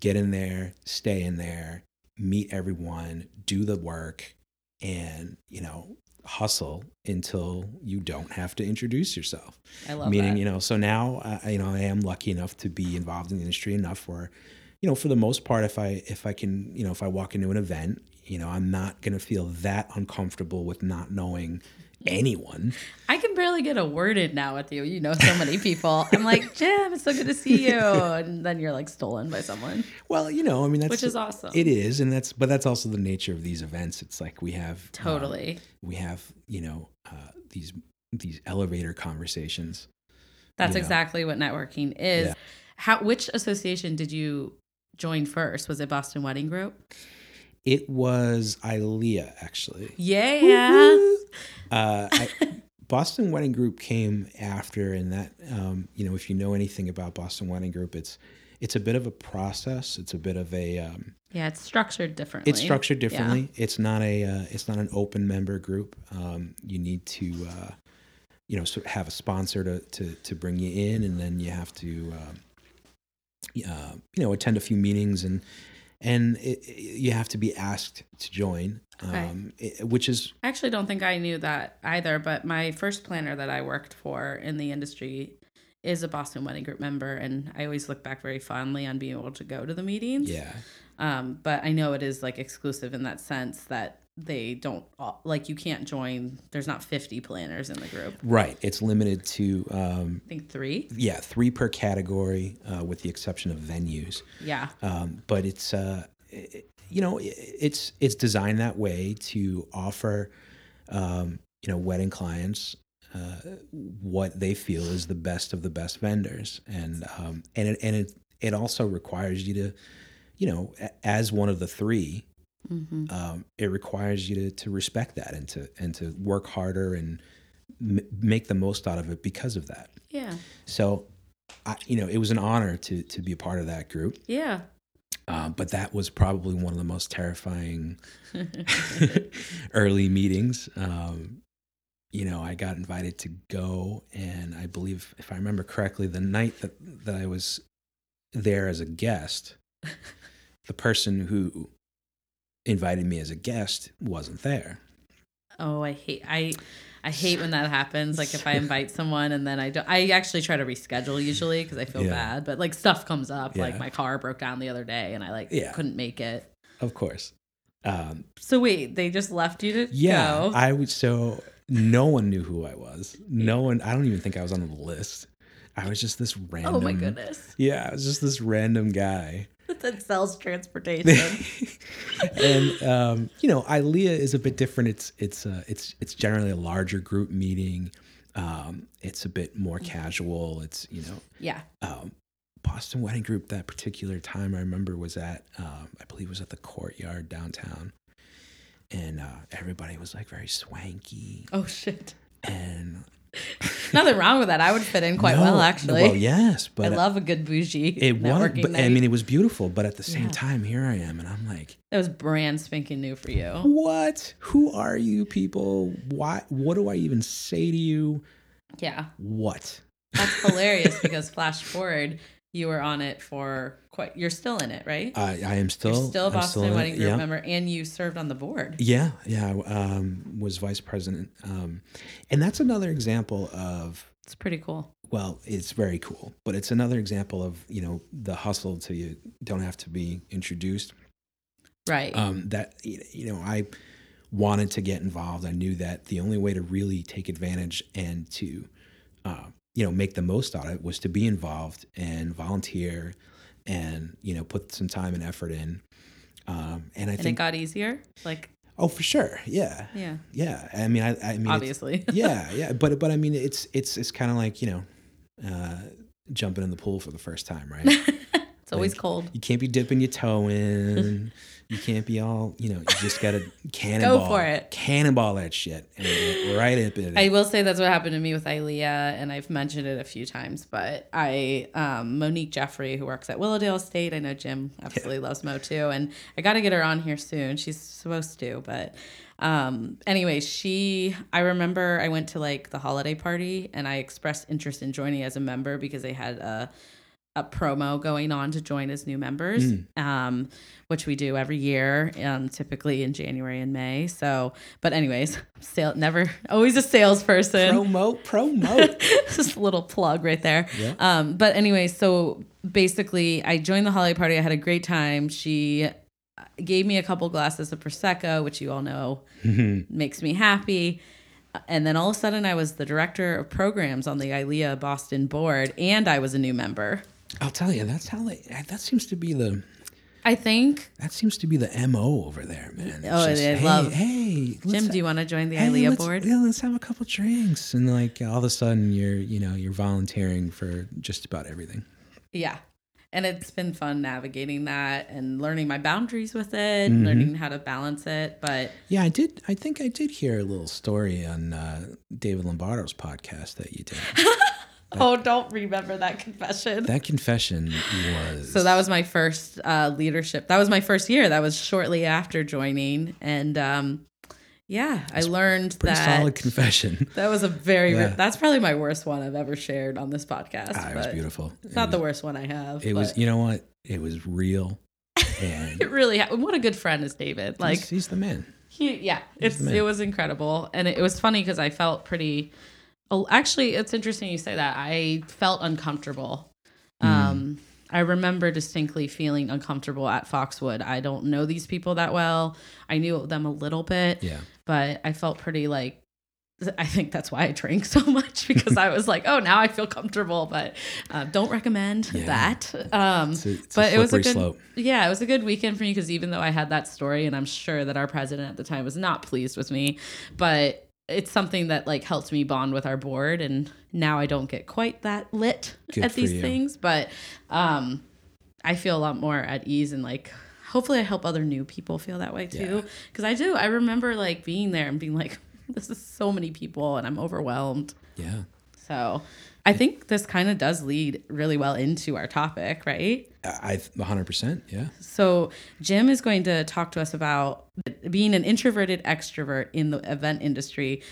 S3: get in there, stay in there, meet everyone, do the work, and you know, hustle until you don't have to introduce yourself.
S2: I love
S3: Meaning,
S2: that.
S3: you know, so now uh, you know I am lucky enough to be involved in the industry enough where, you know, for the most part, if I if I can, you know, if I walk into an event, you know, I'm not gonna feel that uncomfortable with not knowing
S2: Mm.
S3: anyone.
S2: I can barely get a word in now with you. You know so many people. I'm like, Jim, it's so good to see you. And then you're like stolen by someone,
S3: Well, you know, I mean, that's
S2: which is awesome.
S3: It is, and that's but that's also the nature of these events. It's like we have uh,
S2: Totally.
S3: we have you know uh, these these elevator conversations.
S2: That's
S3: yeah.
S2: exactly what networking is.
S3: Yeah.
S2: How which association did you join first? Was it Boston Wedding Group?
S3: It was ILEA actually.
S2: Yeah.
S3: Uh, I, Boston Wedding Group came after, and that um, you know, if you know anything about Boston Wedding Group, it's it's a bit of a process. It's a bit of a um,
S2: Yeah, it's structured differently.
S3: it's structured
S2: Yeah.
S3: differently. It's not a uh, it's not an open member group. Um, you need to uh, you know sort of have a sponsor to, to to bring you in, and then you have to um, y- uh, you know attend a few meetings and and it, it- you have to be asked to join,
S2: Okay.
S3: um, it- which is
S2: I actually don't think I knew that either, but my first planner that I worked for in the industry is a Boston Wedding Group member and I always look back very fondly on being able to go to the meetings.
S3: yeah
S2: Um, but I know it is like exclusive in that sense that they don't all, like you can't join. There's not 50 planners in the group.
S3: Right. It's limited to um,
S2: I think three.
S3: yeah, three per category, uh, with the exception of venues.
S2: Yeah.
S3: Um, but it's uh, i- you know i- it's it's designed that way to offer um, you know wedding clients uh, what they feel is the best of the best vendors, and um, and it, and it it also requires you to you know a- as one of the three
S2: Mm-hmm.
S3: um, it requires you to, to respect that and to and to work harder and m- make the most out of it because of that.
S2: Yeah.
S3: So, I, you know, it was an honor to to be a part of that group,
S2: Yeah.
S3: uh, but that was probably one of the most terrifying early meetings. Um, you know, I got invited to go, and I believe, if I remember correctly, the night that that I was there as a guest, the person who invited me as a guest wasn't there.
S2: Oh, I hate I I hate when that happens. Like if I invite someone and then I don't I actually try to reschedule usually because I feel
S3: Yeah.
S2: bad, but like stuff comes up. Like
S3: Yeah.
S2: my car broke down the other day and I like
S3: Yeah.
S2: couldn't make it.
S3: Of course. Um,
S2: So wait, they just left you to
S3: yeah,
S2: go.
S3: I was so no one knew who I was. No one. I don't even think I was on the list. I was just this random.
S2: oh my goodness.
S3: Yeah, I was just this random guy.
S2: that sells transportation.
S3: and um, you know, ILEA is a bit different. It's it's uh, it's it's generally a larger group meeting. Um, it's a bit more casual. It's you know,
S2: yeah.
S3: um, Boston Wedding Group that particular time I remember was at um, I believe it was at the courtyard downtown, and uh, everybody was like very swanky
S2: Oh shit.
S3: and
S2: Nothing wrong with that. I would fit in quite well
S3: No,
S2: actually.
S3: Well, yes,
S2: I
S3: but uh,
S2: love a good bougie.
S3: it was.
S2: networking
S3: But, I
S2: night.
S3: mean, it was beautiful. But at the same
S2: Yeah.
S3: time, here I am, and I'm like,
S2: that was brand spanking new for you.
S3: what? Who are you people? Why? What do I even say to you?
S2: Yeah.
S3: What?
S2: That's hilarious because flash forward, you were on it for quite. You're still in it, right?
S3: I, I am still
S2: you're still a
S3: I'm
S2: Boston
S3: in it.
S2: Wedding Group
S3: Yeah.
S2: member, and you served on the board.
S3: Yeah, yeah, I, um, was vice president, um, and that's another example of
S2: It's pretty cool.
S3: well, it's very cool, but it's another example of you know the hustle till you don't have to be introduced.
S2: Right.
S3: Um, that you know, I wanted to get involved. I knew that the only way to really take advantage and to uh, you know make the most out of it was to be involved and volunteer and you know put some time and effort in. Um, and I
S2: and it
S3: think
S2: got easier. Like,
S3: oh for sure, yeah,
S2: yeah,
S3: yeah. I mean, I, I mean, it's-
S2: obviously.
S3: yeah, yeah, but but I mean, it's it's it's kind of like you know, uh, jumping in the pool for the first time, right?
S2: it's always
S3: like-
S2: cold.
S3: you can't be dipping your toe in. You can't be all you know. You just gotta cannonball,
S2: Go for it.
S3: cannonball that shit and get right up in it.
S2: I will say that's what happened to me with Ilea, and I've mentioned it a few times. But I, um, Monique Jeffrey, who works at Willowdale State, I know Jim absolutely loves Mo too, and I got to get her on here soon. She's supposed to, but um, anyway, she. I remember I went to like the holiday party, and I expressed interest in joining as a member because they had a a promo going on to join as new members, um, which we do every year, um, typically in January and May. So, but anyways, sale never always a salesperson.
S3: promote, promote.
S2: Just a little plug right there.
S3: Yeah.
S2: Um, but anyway, so basically, I joined the holiday party. I had a great time. She gave me a couple glasses of prosecco, which you all know makes me happy. And then all of a sudden, I was the director of programs on the ILEA Boston board, and I was a new member.
S3: I'll tell you, that's how they. That seems to be the.
S2: I think
S3: That seems to be the mo over there, man. It's
S2: Oh, they
S3: hey,
S2: love-
S3: Hey,
S2: Jim,
S3: let's-
S2: do you want to join the
S3: hey,
S2: ILEA
S3: let's-
S2: board?
S3: Yeah, let's have a couple drinks, and like all of a sudden, you're you know you're volunteering for just about everything.
S2: Yeah. And it's been fun navigating that and learning my boundaries with it,
S3: Mm-hmm.
S2: learning how to balance it. But
S3: Yeah, I did. I think I did hear a little story on uh, David Lombardo's podcast that you did.
S2: oh, don't remember that confession.
S3: That confession was
S2: so that was my first uh, leadership. That was my first year. That was shortly after joining. And um, yeah, I learned
S3: pretty
S2: that.
S3: solid confession.
S2: That was a very,
S3: Yeah.
S2: that's probably my worst one I've ever shared on this podcast.
S3: Ah, it was
S2: but
S3: beautiful.
S2: It's not the worst one I have.
S3: It was.
S2: but
S3: You know what? It was real. And
S2: It really, ha- what a good friend is David. Like,
S3: he's, he's the man.
S2: He, yeah, it's
S3: the man.
S2: it was incredible, and it, it was funny because I felt pretty.
S3: Hmm.
S2: Oh, actually, it's interesting you say that. I felt uncomfortable. Um, I remember distinctly feeling uncomfortable at Foxwood. I don't know these people that well. I knew them a little bit,
S3: Yeah.
S2: but I felt pretty like I think that's why I drank so much because I was like, oh, now I feel comfortable, but uh, don't recommend
S3: Yeah.
S2: that. Um,
S3: It's a- it's a
S2: but it was a good,
S3: slippery slope.
S2: yeah, it was a good weekend for me because even though I had that story, and I'm sure that our president at the time was not pleased with me, but it's something that like helped me bond with our board, and now I don't get quite that lit
S3: Good
S2: at
S3: for
S2: these
S3: you.
S2: things, but um, I feel a lot more at ease and like. Hopefully, I help other new people feel that way too. Because I do. I remember like being there and being like, this is so many people and I'm overwhelmed.
S3: Yeah.
S2: So I think this kind of does lead really well into our topic, right?
S3: I I- 100%. Yeah.
S2: So Jim is going to talk to us about being an introverted extrovert in the event industry,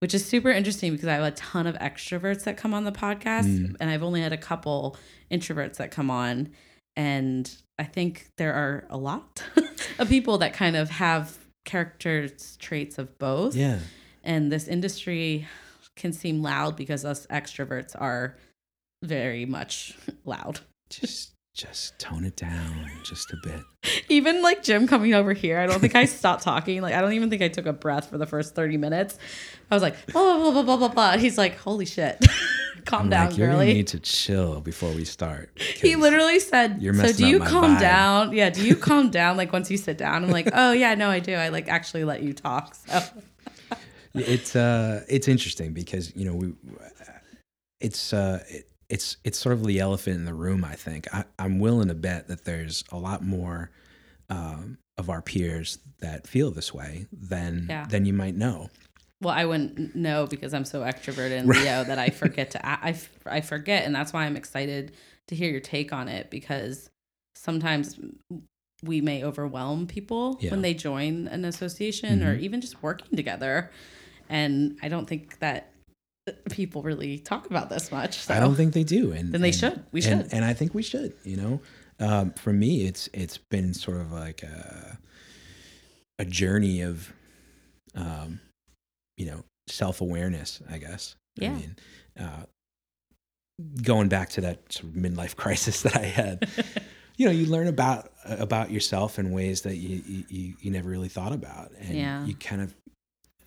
S2: which is super interesting because I have a ton of extroverts that come on the podcast, and I've only had a couple introverts that come on, and I think there are a lot of people that kind of have characters traits of both
S3: Yeah.
S2: and this industry can seem loud because us extroverts are very much loud.
S3: Just just tone it down just a bit.
S2: Even like Jim coming over here, I don't think I stopped talking. Like I don't even think I took a breath for the first 30 minutes. I was like, blah blah blah blah blah blah blah. He's like, holy shit. calm
S3: I'm
S2: down,
S3: like, you're gonna
S2: girly.
S3: need to chill before we start.
S2: He
S3: 'cause
S2: literally said,
S3: You're
S2: "So
S3: messing
S2: do
S3: up
S2: you
S3: my
S2: calm
S3: vibe."
S2: down? Yeah, do you calm down? Like once you sit down, I'm like, oh yeah, no, I do. I like actually let you talk. So
S3: It's uh, it's interesting because you know we, it's uh, it, it's it's sort of the elephant in the room. I think I, I'm willing to bet that there's a lot more um, of our peers that feel this way than
S2: Yeah.
S3: than you might know.
S2: Well, I wouldn't know because I'm so extroverted and
S3: Right.
S2: Leo that I forget to I, I f- I forget, and that's why I'm excited to hear your take on it because sometimes we may overwhelm people
S3: Yeah. Mm-hmm.
S2: when they join an association or even just working together, and I don't think that people really talk about this much. So.
S3: I don't think they do. And
S2: Then they
S3: and-
S2: should. We
S3: and-
S2: should.
S3: And I think we should. You know, um, for me, it's it's been sort of like a a journey of, um, you know, self awareness. I guess.
S2: Yeah.
S3: I mean, uh, going back to that sort of midlife crisis that I had. You know, you learn about about yourself in ways that you you- you, you never really thought about, and
S2: Yeah.
S3: you kind of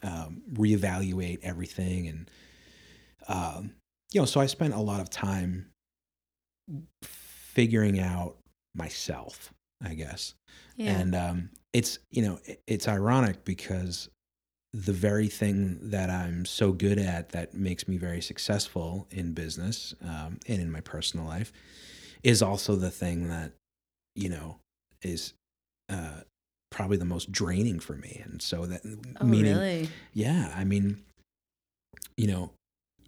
S3: um, reevaluate everything and um, you know, so I spent a lot of time figuring out myself, I guess. And um, it's, you know, it- it's ironic because the very thing that I'm so good at that makes me very successful in business um, and in my personal life is also the thing that, you know, is uh, probably the most draining for me. And so that,
S2: oh,
S3: meaning,
S2: really?
S3: yeah, I mean, you know,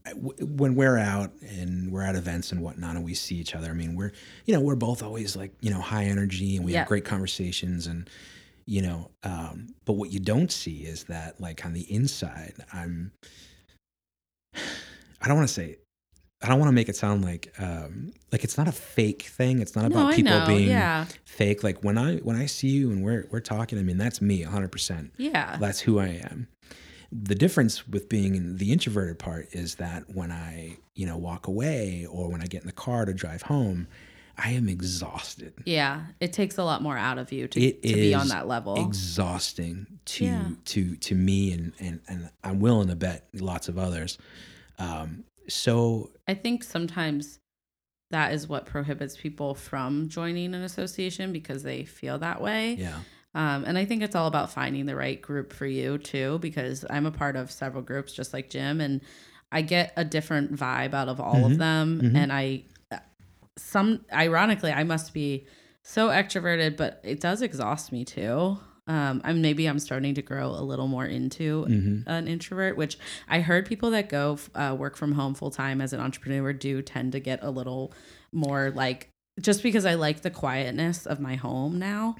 S3: I- w- when we're out and we're at events and whatnot, and we see each other, I mean, we're you know we're both always like you know high energy and we
S2: Yeah.
S3: have great conversations and you know, um, but what you don't see is that like on the inside, I'm. I don't want to say. I don't want to make it sound like um, like it's not a fake thing. It's not
S2: No,
S3: about
S2: I
S3: people
S2: know.
S3: being
S2: yeah,
S3: fake. Like when I when I see you and we're we're talking, I mean that's me 100. percent
S2: yeah,
S3: that's who I am. The difference with being in the introverted part is that when I, you know, walk away or when I get in the car to drive home, I am exhausted.
S2: yeah. It takes a lot more out of you to
S3: It
S2: to be on
S3: is
S2: that level.
S3: Exhausting to
S2: Yeah.
S3: to to me and and and I'm willing to bet lots of others. Um, so
S2: I think sometimes that is what prohibits people from joining an association because they feel that way.
S3: yeah,
S2: Um, and I think it's all about finding the right group for you too, because I'm a part of several groups, just like Jim, and I get a different vibe out of all of
S3: Mhm.
S2: them.
S3: Mhm.
S2: And I, uh, some ironically, I must be so extroverted, but it does exhaust me too. Um, I'm maybe I'm starting to grow a little more into
S3: hmm
S2: an introvert, which I heard people that go f- uh, work from home full time as an entrepreneur do tend to get a little more like just because I like the quietness of my home now.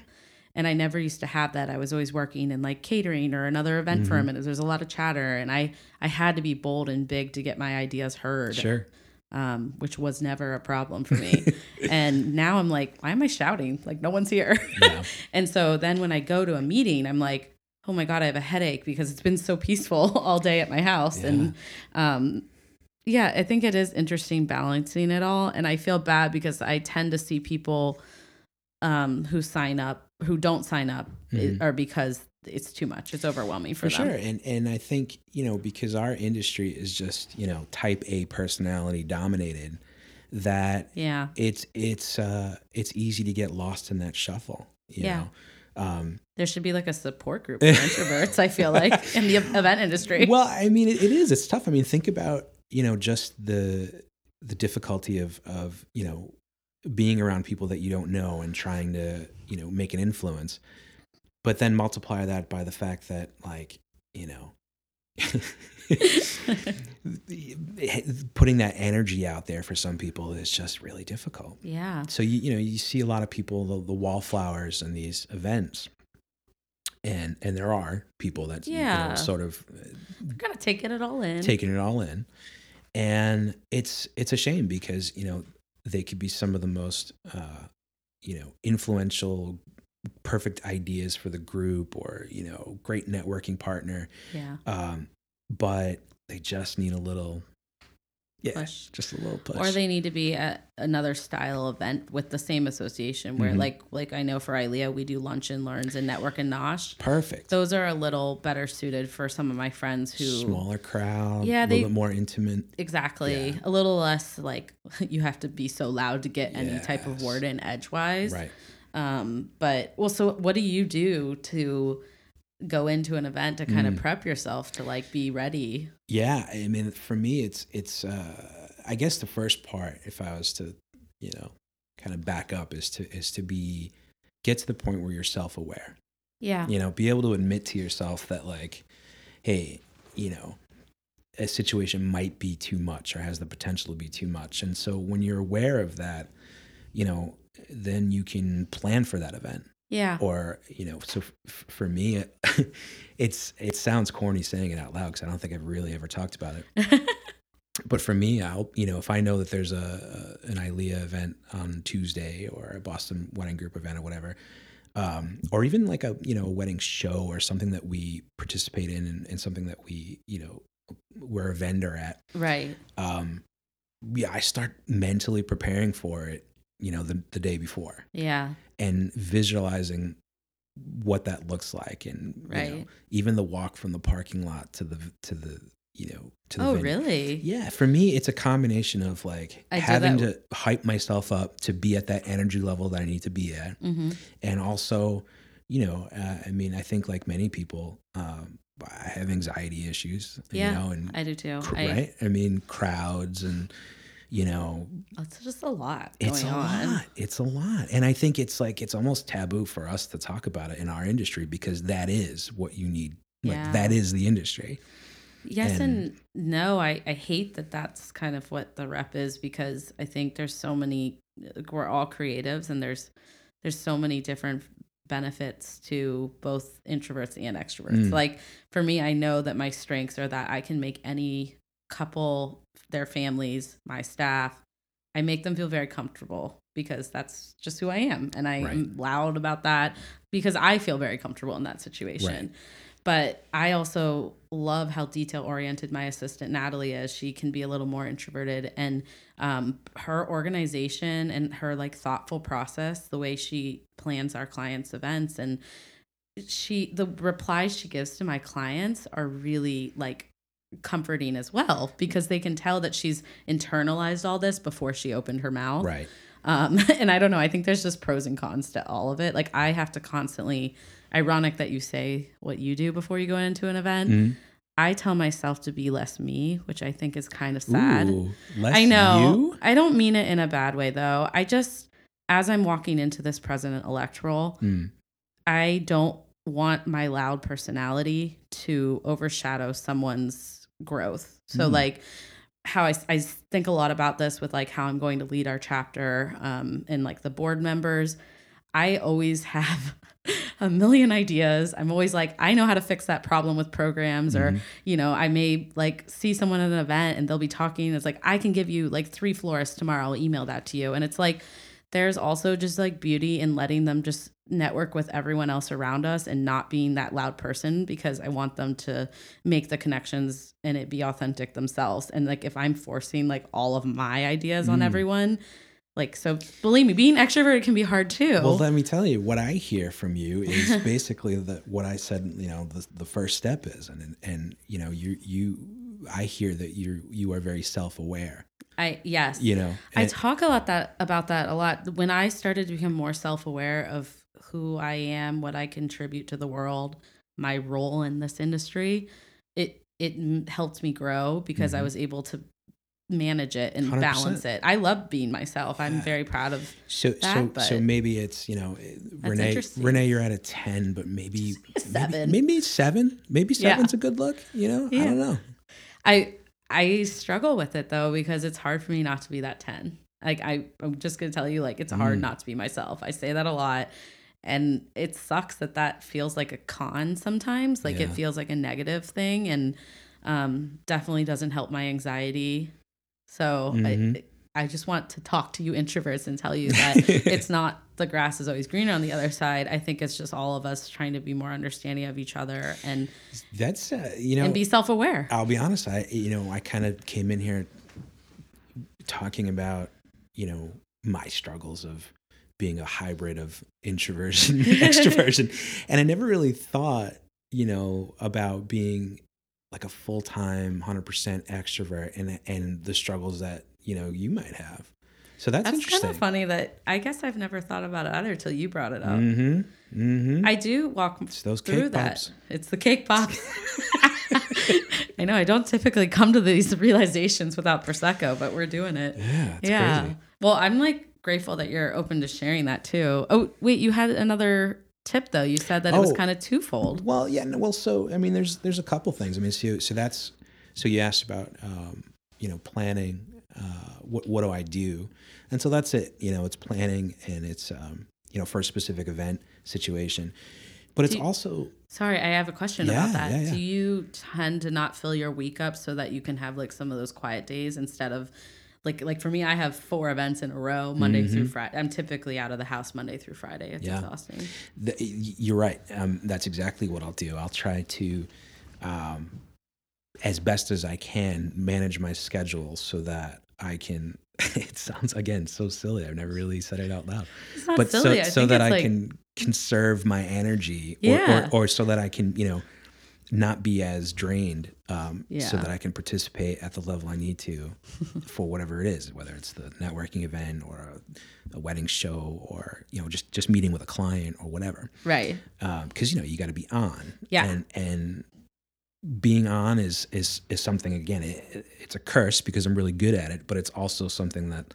S2: And I never used to have that. I was always working in like catering or another event for a minute. There's a lot of chatter, and I I had to be bold and big to get my ideas heard
S3: sure,
S2: um, which was never a problem for me. and now I'm like, why am I shouting? Like, no one's here.
S3: Yeah.
S2: and so then when I go to a meeting, I'm like, oh my God, I have a headache because it's been so peaceful all day at my house. And um, yeah, I think it is interesting balancing it all. And I feel bad because I tend to see people um, who sign up, who don't sign up,
S3: Mhm.
S2: or because it's too much. It's overwhelming for,
S3: for
S2: them.
S3: sure and and i think you know because our industry is just you know type a personality dominated that
S2: Yeah.
S3: it's it's uh it's easy to get lost in that shuffle you
S2: Yeah.
S3: know um
S2: There should be like a support group for introverts, I feel like, in the event industry.
S3: well i mean it, it is it's tough i mean think about you know just the the difficulty of of you know being around people that you don't know and trying to you know make an influence but then multiply that by the fact that like you know putting that energy out there for some people is just really difficult
S2: yeah.
S3: so you you know you see a lot of people the, the wallflowers in these events and and there are people that you know,
S2: Yeah.
S3: sort of uh,
S2: Kind of taking it all in.
S3: taking it all in and it's it's a shame because you know they could be some of the most uh you know influential perfect ideas for the group or you know great networking partner
S2: yeah.
S3: um but they just need a little yeah
S2: Push.
S3: just a little push
S2: Or they need to be at another style event with the same association where
S3: Mhm.
S2: like like I know for ILEA we do lunch and learns and network and nosh.
S3: perfect
S2: Those are a little better suited for some of my friends who
S3: smaller crowd
S2: Yeah,
S3: a
S2: they-
S3: little bit more intimate
S2: exactly
S3: Yeah.
S2: a little less like you have to be so loud to get any type of
S3: Yes.
S2: word in edgewise.
S3: right
S2: Um, but well, so what do you do to go into an event to
S3: Mm.
S2: kind of prep yourself to like be ready?
S3: yeah i mean for me it's it's uh i guess the first part if i was to you know kind of back up is to is to be get to the point where you're self-aware
S2: Yeah.
S3: you know be able to admit to yourself that like hey you know a situation might be too much or has the potential to be too much and so when you're aware of that you know then you can plan for that event
S2: Yeah.
S3: or you know so f- f- for me it, it's it sounds corny saying it out loud because i don't think i've really ever talked about it but for me i'll you know if i know that there's a, a an ilea event on tuesday or a boston wedding group event or whatever um, or even like a you know a wedding show or something that we participate in and, and something that we you know we're a vendor at
S2: Right.
S3: um, yeah i start mentally preparing for it you know the, the day before
S2: Yeah.
S3: and visualizing what that looks like and you know,
S2: Right.
S3: even the walk from the parking lot to the to the you know to the
S2: Oh,
S3: venue.
S2: really?
S3: yeah for me it's a combination of like
S2: I do
S3: having
S2: that-
S3: to hype myself up to be at that energy level that i need to be at
S2: Mm-hmm.
S3: and also you know uh, i mean i think like many people um i have anxiety issues
S2: Yeah,
S3: you know and
S2: I do too.
S3: cr-
S2: I,
S3: right i mean crowds and you know
S2: It's just a lot going
S3: it's a
S2: on.
S3: lot. It's a lot. And I think it's like it's almost taboo for us to talk about it in our industry because that is what you need.
S2: Yeah.
S3: Like that is the industry.
S2: Yes and,
S3: and-
S2: no. I, I hate that that's kind of what the rep is because I think there's so many, like, we're all creatives and there's, there's so many different benefits to both introverts and extroverts.
S3: Mm.
S2: Like for me, I know that my strengths are that I can make any couple, their families, my staff, I make them feel very comfortable because that's just who I am. And I am
S3: Right.
S2: loud about that because I feel very comfortable in that situation. But I also love how detail oriented my assistant Natalie is. She can be a little more introverted, and um, her organization and her like thoughtful process, the way she plans our clients' events, and she the replies she gives to my clients are really like comforting as well because they can tell that she's internalized all this before she opened her mouth.
S3: Right.
S2: Um, and I don't know. I think there's just pros and cons to all of it. Like I have to constantly. Ironic that you say what you do before you go into an event.
S3: Mhm.
S2: I tell myself to be less me, which I think is kind of sad.
S3: Ooh, less
S2: I know.
S3: you?
S2: I don't mean it in a bad way though. I just as I'm walking into this president elect role,
S3: Mm.
S2: I don't want my loud personality to overshadow someone's growth. So
S3: Mm.
S2: like how I, I think a lot about this with like how I'm going to lead our chapter um, and like the board members. I always have a million ideas. I'm always like, I know how to fix that problem with programs, or, you know, I may like see someone at an event and they'll be talking. It's like, I can give you like three florists tomorrow. I'll email that to you. And it's like, there's also just like beauty in letting them just network with everyone else around us and not being that loud person because I want them to make the connections and it be authentic themselves. And like if I'm forcing like all of my ideas on
S3: Mm.
S2: everyone, like so believe me, being extroverted can be hard too.
S3: Well, let me tell you what I hear from you is basically the, what I said. You know, the, the first step is, and and you know, you you, I hear that you you are very self aware.
S2: I yes.
S3: You know,
S2: I
S3: And-
S2: talk a lot that about that a lot. When I started to become more self-aware of who I am, what I contribute to the world, my role in this industry, it it m- helped me grow because I
S3: Mhm.
S2: was able to manage it and
S3: 100%.
S2: balance it. I love being myself. I'm
S3: Yeah.
S2: very proud of.
S3: so so
S2: that,
S3: so
S2: but-
S3: maybe it's you know, eh, Renee
S2: interesting.
S3: Renee, you're at a ten, but maybe
S2: Seven.
S3: maybe, maybe seven, maybe
S2: Yeah.
S3: seven's a good look. You know,
S2: Yeah.
S3: I don't know.
S2: I I struggle with it though because it's hard for me not to be that 10. Like I I'm just going to tell you like it's hard
S3: Mm.
S2: not to be myself. I say that a lot and it sucks that that feels like a con sometimes. Like it
S3: Yeah.
S2: feels like a negative thing and um definitely doesn't help my anxiety. So
S3: Mhm.
S2: I I just want to talk to you introverts and tell you that it's not the grass is always greener on the other side. I think it's just all of us trying to be more understanding of each other and
S3: That's uh, you know,
S2: and be self-aware.
S3: I'll be honest. I you know I kind of came in here talking about you know my struggles of being a hybrid of introversion and extroversion, and I never really thought you know about being like a full time hundred percent extrovert and and the struggles that you know you might have. So that's,
S2: That's
S3: interesting.
S2: kind of funny that I guess I've never thought about it either till you brought it up.
S3: Mm-hmm. Mm-hmm.
S2: I do walk
S3: it's those
S2: through
S3: cake
S2: that.
S3: pops.
S2: It's the cake pops. I know I don't typically come to these realizations without prosecco, but we're doing it.
S3: Yeah, it's
S2: yeah.
S3: crazy.
S2: Well, I'm like grateful that you're open to sharing that too. Oh, wait, you had another tip though. You said that it was
S3: Oh.
S2: kind of twofold.
S3: Well, yeah. no, Well, so I mean, there's there's a couple things. I mean, so so that's so you asked about um, you know planning. Uh, what what do I do? And so that's it. You know, it's planning and it's um, you know for a specific event situation, but it's
S2: Do you-
S3: also
S2: Sorry, I have a question about
S3: Yeah,
S2: that.
S3: yeah, yeah.
S2: Do you tend to not fill your week up so that you can have like some of those quiet days instead of like like for me I have four events in a row Monday through Friday. I'm typically out of the house Monday through Friday. It's
S3: Mm-hmm. Yeah.
S2: exhausting.
S3: the, y- you're right. Um, that's exactly what I'll do. I'll try to, um, as best as I can, manage my schedule so that I can. It sounds again so silly. I've never really said it out loud,
S2: It's not
S3: but
S2: silly.
S3: so
S2: I
S3: so
S2: think
S3: that
S2: it's
S3: I
S2: like,
S3: can conserve my energy, or,
S2: Yeah.
S3: or or so that I can you know not be as drained, um, so
S2: Yeah.
S3: that I can participate at the level I need to for whatever it is, whether it's the networking event or a, a wedding show or you know just just meeting with a client or whatever
S2: right.
S3: because you know you got to be on.
S2: Yeah.
S3: And and being on is is is something again. It, it- it's a curse because I'm really good at it, but it's also something that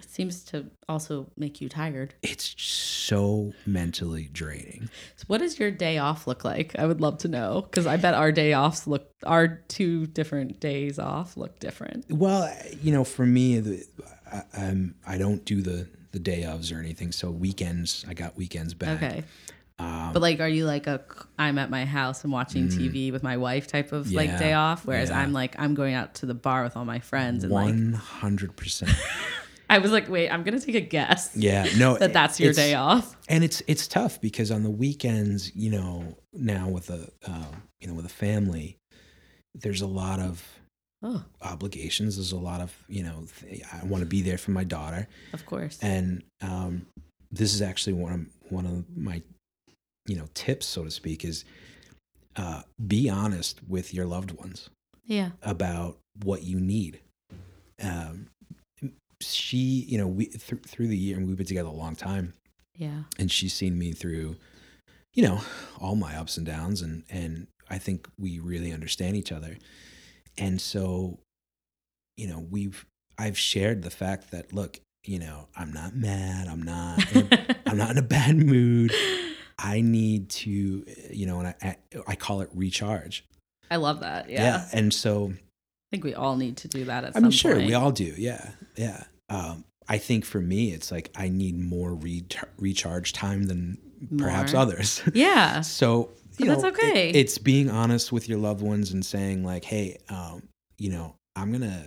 S2: It seems to also make you tired.
S3: it's so mentally draining.
S2: So what does your day off look like? I would love to know cuz I bet our day offs look our two different days off look different.
S3: Well, you know, for me, the, I, I'm I don't do the the day ofs or anything. So weekends, I got weekends back.
S2: Okay.
S3: Um,
S2: but like, are you like a c- I'm at my house and watching TV with my wife type of like
S3: Mm. Yeah,
S2: day off? Whereas
S3: yeah.
S2: I'm like I'm going out to the bar with all my friends and like
S3: One hundred percent.
S2: I was like, wait, I'm gonna take a guess
S3: Yeah. No.
S2: that that's your
S3: it's-
S2: day off.
S3: and it's it's tough because on the weekends, you know, now with a um, you know with a family, there's a lot of
S2: Oh,
S3: obligations. There's a lot of you know th- I want to be there for my daughter,
S2: of course.
S3: and um, this is actually one of one of my you know tips, so to speak, is uh, be honest with your loved ones
S2: yeah.
S3: about what you need. Um, she, you know, we thr through the year, and we've been together a long time
S2: Yeah.
S3: and she's seen me through you know all my ups and downs and and i think we really understand each other and so you know we've i've shared the fact that look you know i'm not mad i'm not in a, i'm not in a bad mood i need to you know and i i, I call it recharge
S2: I love that. Yeah. I
S3: and so
S2: think we all need to do that at
S3: i'm
S2: some
S3: sure
S2: point.
S3: we all do yeah yeah um i think for me it's like i need more re- recharge time than perhaps
S2: More.
S3: others
S2: yeah.
S3: So you
S2: But that's
S3: know, it-
S2: okay.
S3: it's being honest with your loved ones and saying like, "Hey, um, you know, I'm gonna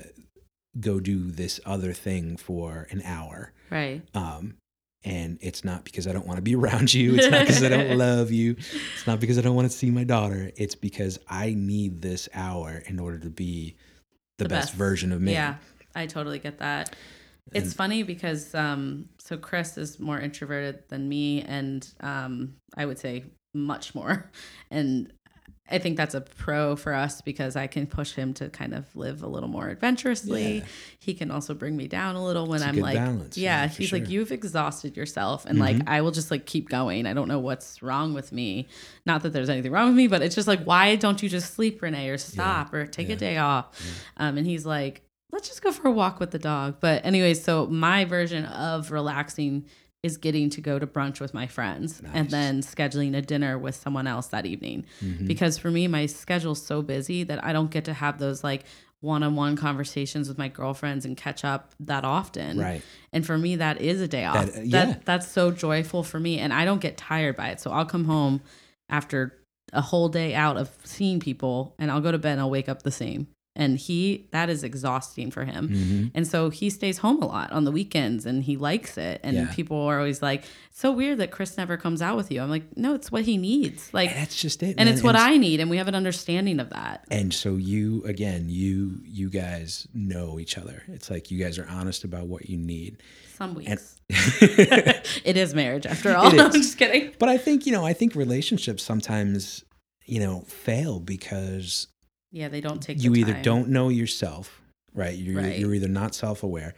S3: go do this other thing for an hour,
S2: Right.
S3: um, And it's not because I don't want to be around you. It's not because I don't love you. It's not because I don't want to see my daughter. It's because I need this hour in order to be the,
S2: The
S3: best,
S2: best.
S3: version of me.
S2: Yeah, I totally get that. It's funny because um, so Chris is more introverted than me, and um, I would say much more. And I think that's a pro for us because I can push him to kind of live a little more adventurously.
S3: Yeah.
S2: He can also bring me down a little when
S3: It's a
S2: I'm
S3: good
S2: like,
S3: balance,
S2: yeah.
S3: yeah, for
S2: he's like,
S3: sure.
S2: you've exhausted yourself, and like
S3: Mm-hmm.
S2: I will just like keep going. I don't know what's wrong with me. Not that there's anything wrong with me, but it's just like, why don't you just sleep, Renee, or stop, or take a
S3: yeah.
S2: day off? Um, and he's like, let's just go for a walk with the dog. But anyway, so my version of relaxing is getting to go to brunch with my friends and
S3: Nice.
S2: then scheduling a dinner with someone else that evening.
S3: Mhm.
S2: Because for me, my schedule's so busy that I don't get to have those like one on one conversations with my girlfriends and catch up that often.
S3: Right.
S2: And for me, that is a day off.
S3: That- uh, yeah.
S2: that, that's so joyful for me. And I don't get tired by it. So I'll come home after a whole day out of seeing people and I'll go to bed and I'll wake up the same. And he, that is exhausting for him.
S3: Mhm.
S2: And so he stays home a lot on the weekends and he likes it. And
S3: Yeah.
S2: people are always like, so weird that Chris never comes out with you. I'm like, no, it's what he needs. Like,
S3: And that's just it.
S2: and
S3: man.
S2: it's what I need. And we have an understanding of that.
S3: and so you again you you guys know each other it's like you guys are honest about what you need
S2: Some weeks.
S3: and
S2: it is marriage after all.
S3: It
S2: I'm
S3: is.
S2: just kidding.
S3: but i think you know i think relationships sometimes you know fail because
S2: Yeah, they don't take
S3: you
S2: the
S3: either
S2: time.
S3: don't know yourself right you're,
S2: Right.
S3: you're either not self-aware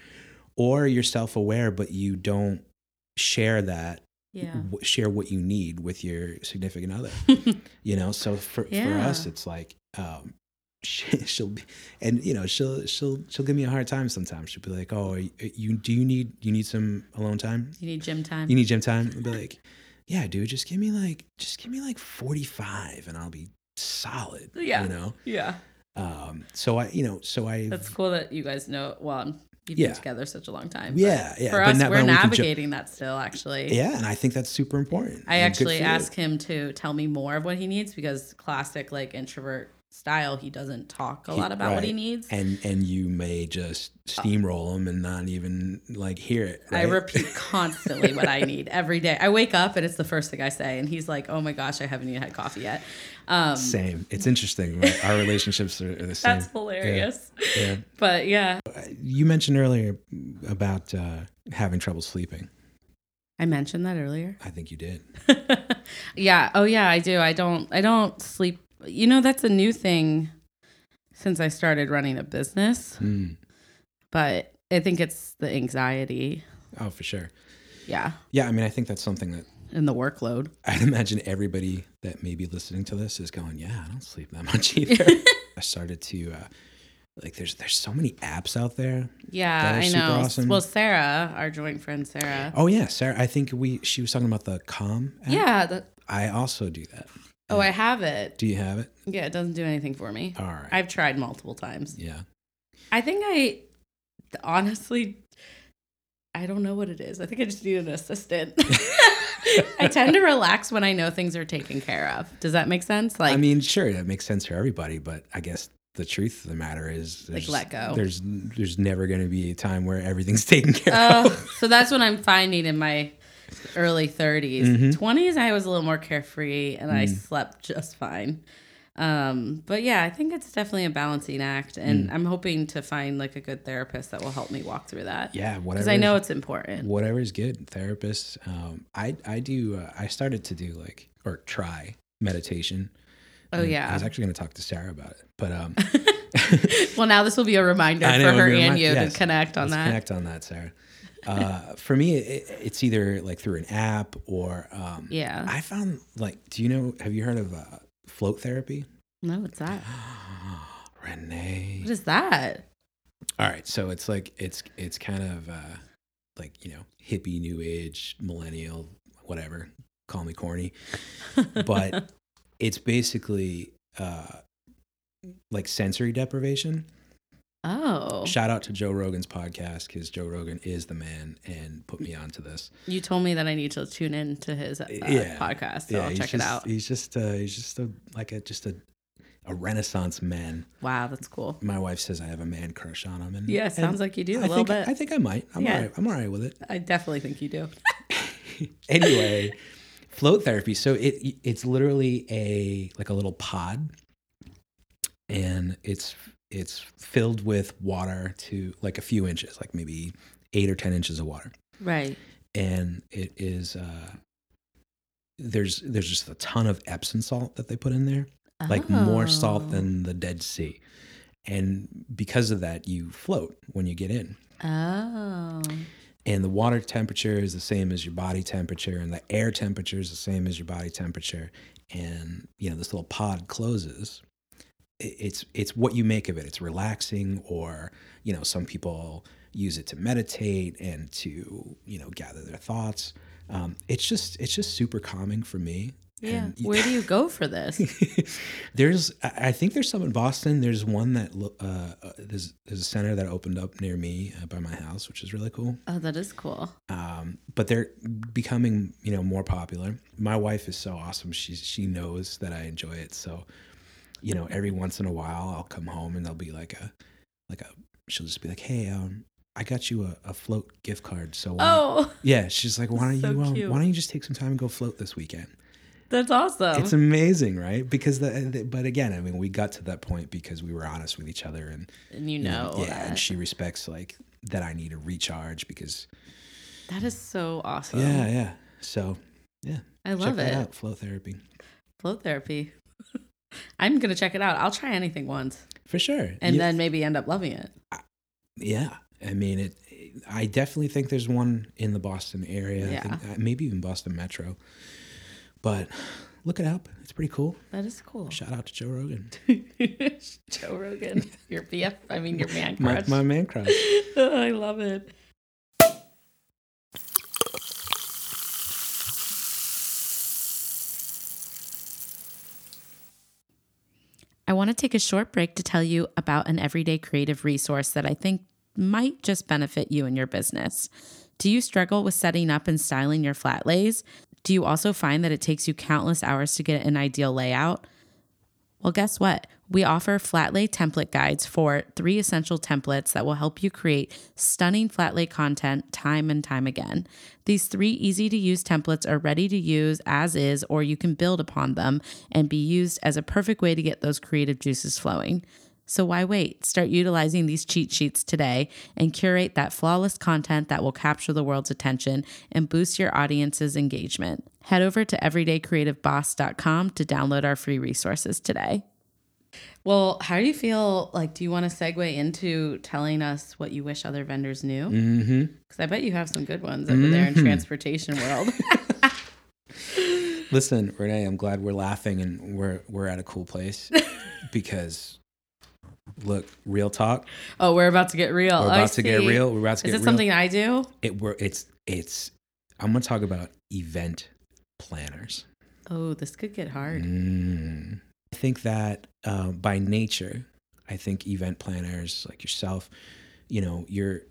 S3: or you're self-aware but you don't share that
S2: Yeah.
S3: w- share what you need with your significant other you know so for, for
S2: Yeah.
S3: us it's like um she, she'll be and you know she'll she'll she'll give me a hard time sometimes she'll be like oh are you, you do you need you need some alone time
S2: You need gym time.
S3: you need gym time i'll be like yeah dude just give me like just give me like 45 and i'll be solid
S2: Yeah.
S3: you know
S2: yeah.
S3: um so i you know so i
S2: That's cool that you guys know. Well, you've
S3: Yeah.
S2: been together such a long time. but
S3: yeah yeah
S2: For
S3: but
S2: us,
S3: not-
S2: we're
S3: but we can ju-
S2: navigating that still, actually.
S3: yeah and i think that's super important
S2: I
S3: and good
S2: actually
S3: for you.
S2: ask him to tell me more of what he needs because classic like introvert style, he doesn't talk a
S3: He-
S2: lot about what he
S3: right.
S2: needs.
S3: and and you may just steamroll them and not even like hear it
S2: Uh, I
S3: right?
S2: repeat constantly what I need every day. I wake up and it's the first thing I say, and he's like, "Oh my gosh, I haven't even had coffee yet." Um,
S3: Same. It's interesting. right? Our relationships are, are the same.
S2: that's hilarious.
S3: Yeah.
S2: But yeah,
S3: You mentioned earlier about uh, having trouble sleeping.
S2: I mentioned that earlier.
S3: I think you did.
S2: yeah. Oh yeah, I do. I don't I don't sleep. You know, that's a new thing since I started running a business,
S3: Mm.
S2: but I think it's the anxiety.
S3: Oh, for sure.
S2: Yeah.
S3: Yeah. I mean, I think that's something that
S2: And the workload.
S3: I'd imagine everybody that may be listening to this is going, yeah, I don't sleep that much either. I started to, uh, like, there's there's so many apps out there.
S2: Yeah,
S3: That is
S2: I
S3: super
S2: know.
S3: awesome.
S2: Well, Sarah, our joint friend Sarah.
S3: Oh, yeah. Sarah, I think we, she was talking about the Calm app.
S2: yeah. The,
S3: I also do that.
S2: oh, I have it.
S3: Do you have it?
S2: Yeah, it doesn't do anything for me.
S3: All right.
S2: I've tried multiple times.
S3: yeah.
S2: I think I honestly, I don't know what it is. I think I just need an assistant. I tend to relax when I know things are taken care of. Does that make sense? Like,
S3: I mean, sure, that makes sense for everybody, but I guess the truth of the matter is,
S2: Like,
S3: there's-
S2: let go.
S3: There's there's never going to be a time where everything's taken care
S2: oh,
S3: of.
S2: so that's what I'm finding in my early 30s.
S3: Mhm.
S2: 20s, I was a little more carefree and
S3: Mm.
S2: I slept just fine. Um, but yeah, I think it's definitely a balancing act,
S3: Mm.
S2: and I'm hoping to find like a good therapist that will help me walk through that.
S3: Yeah,
S2: because
S3: whatever.
S2: I know
S3: is,
S2: it's important.
S3: whatever is good. Therapists. Um, I I do. Uh, I started to do like or try meditation.
S2: Oh
S3: And
S2: yeah.
S3: I was actually going to talk to Sarah about it, but um,
S2: well, now this will be a reminder
S3: I know,
S2: for
S3: it'll
S2: her
S3: be a
S2: and
S3: remi-
S2: you
S3: yes.
S2: to connect on
S3: let's
S2: that.
S3: connect on that, Sarah. Uh, for me, it, it's either like through an app or um,
S2: Yeah.
S3: I found like, do you know? Have you heard of uh, float therapy?
S2: no, what's that?
S3: Renee.
S2: What is that?
S3: All right, so it's like it's it's kind of uh, like you know hippie, new age, millennial, whatever. Call me corny, but it's basically uh, like sensory deprivation.
S2: Oh,
S3: Shout out to Joe Rogan's podcast because Joe Rogan is the man and put me onto this.
S2: you told me that I need to tune in to his uh,
S3: Yeah.
S2: podcast, so I'll
S3: he's
S2: check
S3: just,
S2: it out.
S3: He's just uh, he's just a like a just a a renaissance man.
S2: Wow, that's cool.
S3: My wife says I have a man crush on him, Mm-hmm. and
S2: Yeah, sounds like you do a
S3: I
S2: little
S3: think,
S2: bit.
S3: I think I might. I'm
S2: Yeah.
S3: all right. I'm all right with it.
S2: I definitely think you do.
S3: anyway, float therapy. So it it's literally a like a little pod, and it's it's filled with water to like a few inches, like maybe eight or ten inches of water,
S2: Right.
S3: and it is uh, there's there's just a ton of Epsom salt that they put in there like more
S2: Oh.
S3: salt than the Dead Sea. And because of that, you float when you get in.
S2: Oh.
S3: And the water temperature is the same as your body temperature, and the air temperature is the same as your body temperature. And you know this little pod closes. I- It's it's what you make of it. It's relaxing, or you know some people use it to meditate and to you know gather their thoughts. Um, it's just it's just super calming for me.
S2: Yeah.
S3: And-
S2: Where do you go for this?
S3: there's, I I think there's some in Boston. There's one that lo- uh, uh, there's there's a center that opened up near me uh, by my house, which is really cool.
S2: Oh, that is cool.
S3: Um, but they're becoming you know more popular. My wife is so awesome. She she knows that I enjoy it. So, you know, every once in a while, I'll come home and there'll be like a like a she'll just be like, hey, um, I got you a, a float gift card. So why don't-"
S2: Oh,
S3: yeah, she's like, why don't
S2: So
S3: you um,
S2: cute.
S3: why don't you just take some time and go float this weekend?
S2: that's awesome.
S3: It's amazing, right? Because the, the but again, I mean, we got to that point because we were honest with each other, and
S2: and you
S3: you know,
S2: know,
S3: yeah,
S2: that.
S3: and she respects like that I need to recharge because
S2: that is so awesome.
S3: yeah, yeah. So
S2: I love
S3: check that
S2: it.
S3: out, flow therapy
S2: Flow therapy. I'm gonna check it out. I'll try anything once,
S3: for sure.
S2: and
S3: yeah,
S2: then maybe end up loving it.
S3: yeah, I mean, it. I definitely think there's one in the Boston area. I think, uh, maybe even Boston Metro, but. Look it up. It's pretty cool.
S2: That is cool.
S3: Shout out to Joe Rogan,
S2: Joe Rogan, your BF. I mean, your man
S3: my,
S2: crush.
S3: my man crush.
S2: I love it. I want to take a short break to tell you about an everyday creative resource that I think might just benefit you and your business. Do you struggle with setting up and styling your flat lays? Do you also find that it takes you countless hours to get an ideal layout? Well, guess what? We offer flat lay template guides for three essential templates that will help you create stunning flat lay content time and time again. These three easy to use templates are ready to use as is, or you can build upon them and be used as a perfect way to get those creative juices flowing. So why wait? Start utilizing these cheat sheets today and curate that flawless content that will capture the world's attention and boost your audience's engagement. Head over to everydaycreativeboss.com to download our free resources today. Well, how do you feel? Like, do you want to segue into telling us what you wish other vendors knew? Because
S3: hmm
S2: I bet you have some good ones over there in transportation world.
S3: Listen, Renee, I'm glad we're laughing and we're we're at a cool place because look, real talk.
S2: oh, we're about to get real.
S3: We're
S2: I
S3: about to get
S2: see.
S3: real. We're about to
S2: Is
S3: get
S2: it
S3: real.
S2: something I do?
S3: It we're, it's it's. I'm gonna talk about event planners.
S2: Oh, this could get hard.
S3: Mm. I think that um, by nature, I think event planners like yourself, you know, you're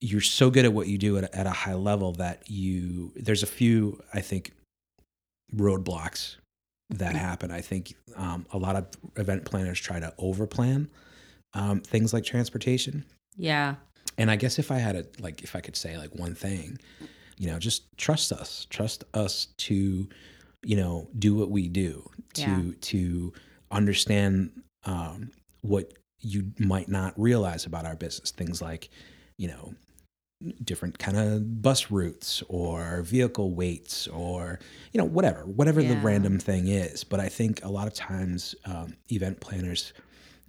S3: you're so good at what you do at, at a high level that you there's a few I think roadblocks that happen. I think um, a lot of event planners try to overplan um, things like transportation.
S2: Yeah.
S3: And I guess if I had a like if I could say like one thing, you know, just trust us. Trust us to, you know, do what we do, to
S2: Yeah.
S3: to understand um what you might not realize about our business. Things like, you know, different kind of bus routes or vehicle weights or you know whatever whatever the
S2: Yeah.
S3: random thing is but i think a lot of times um, event planners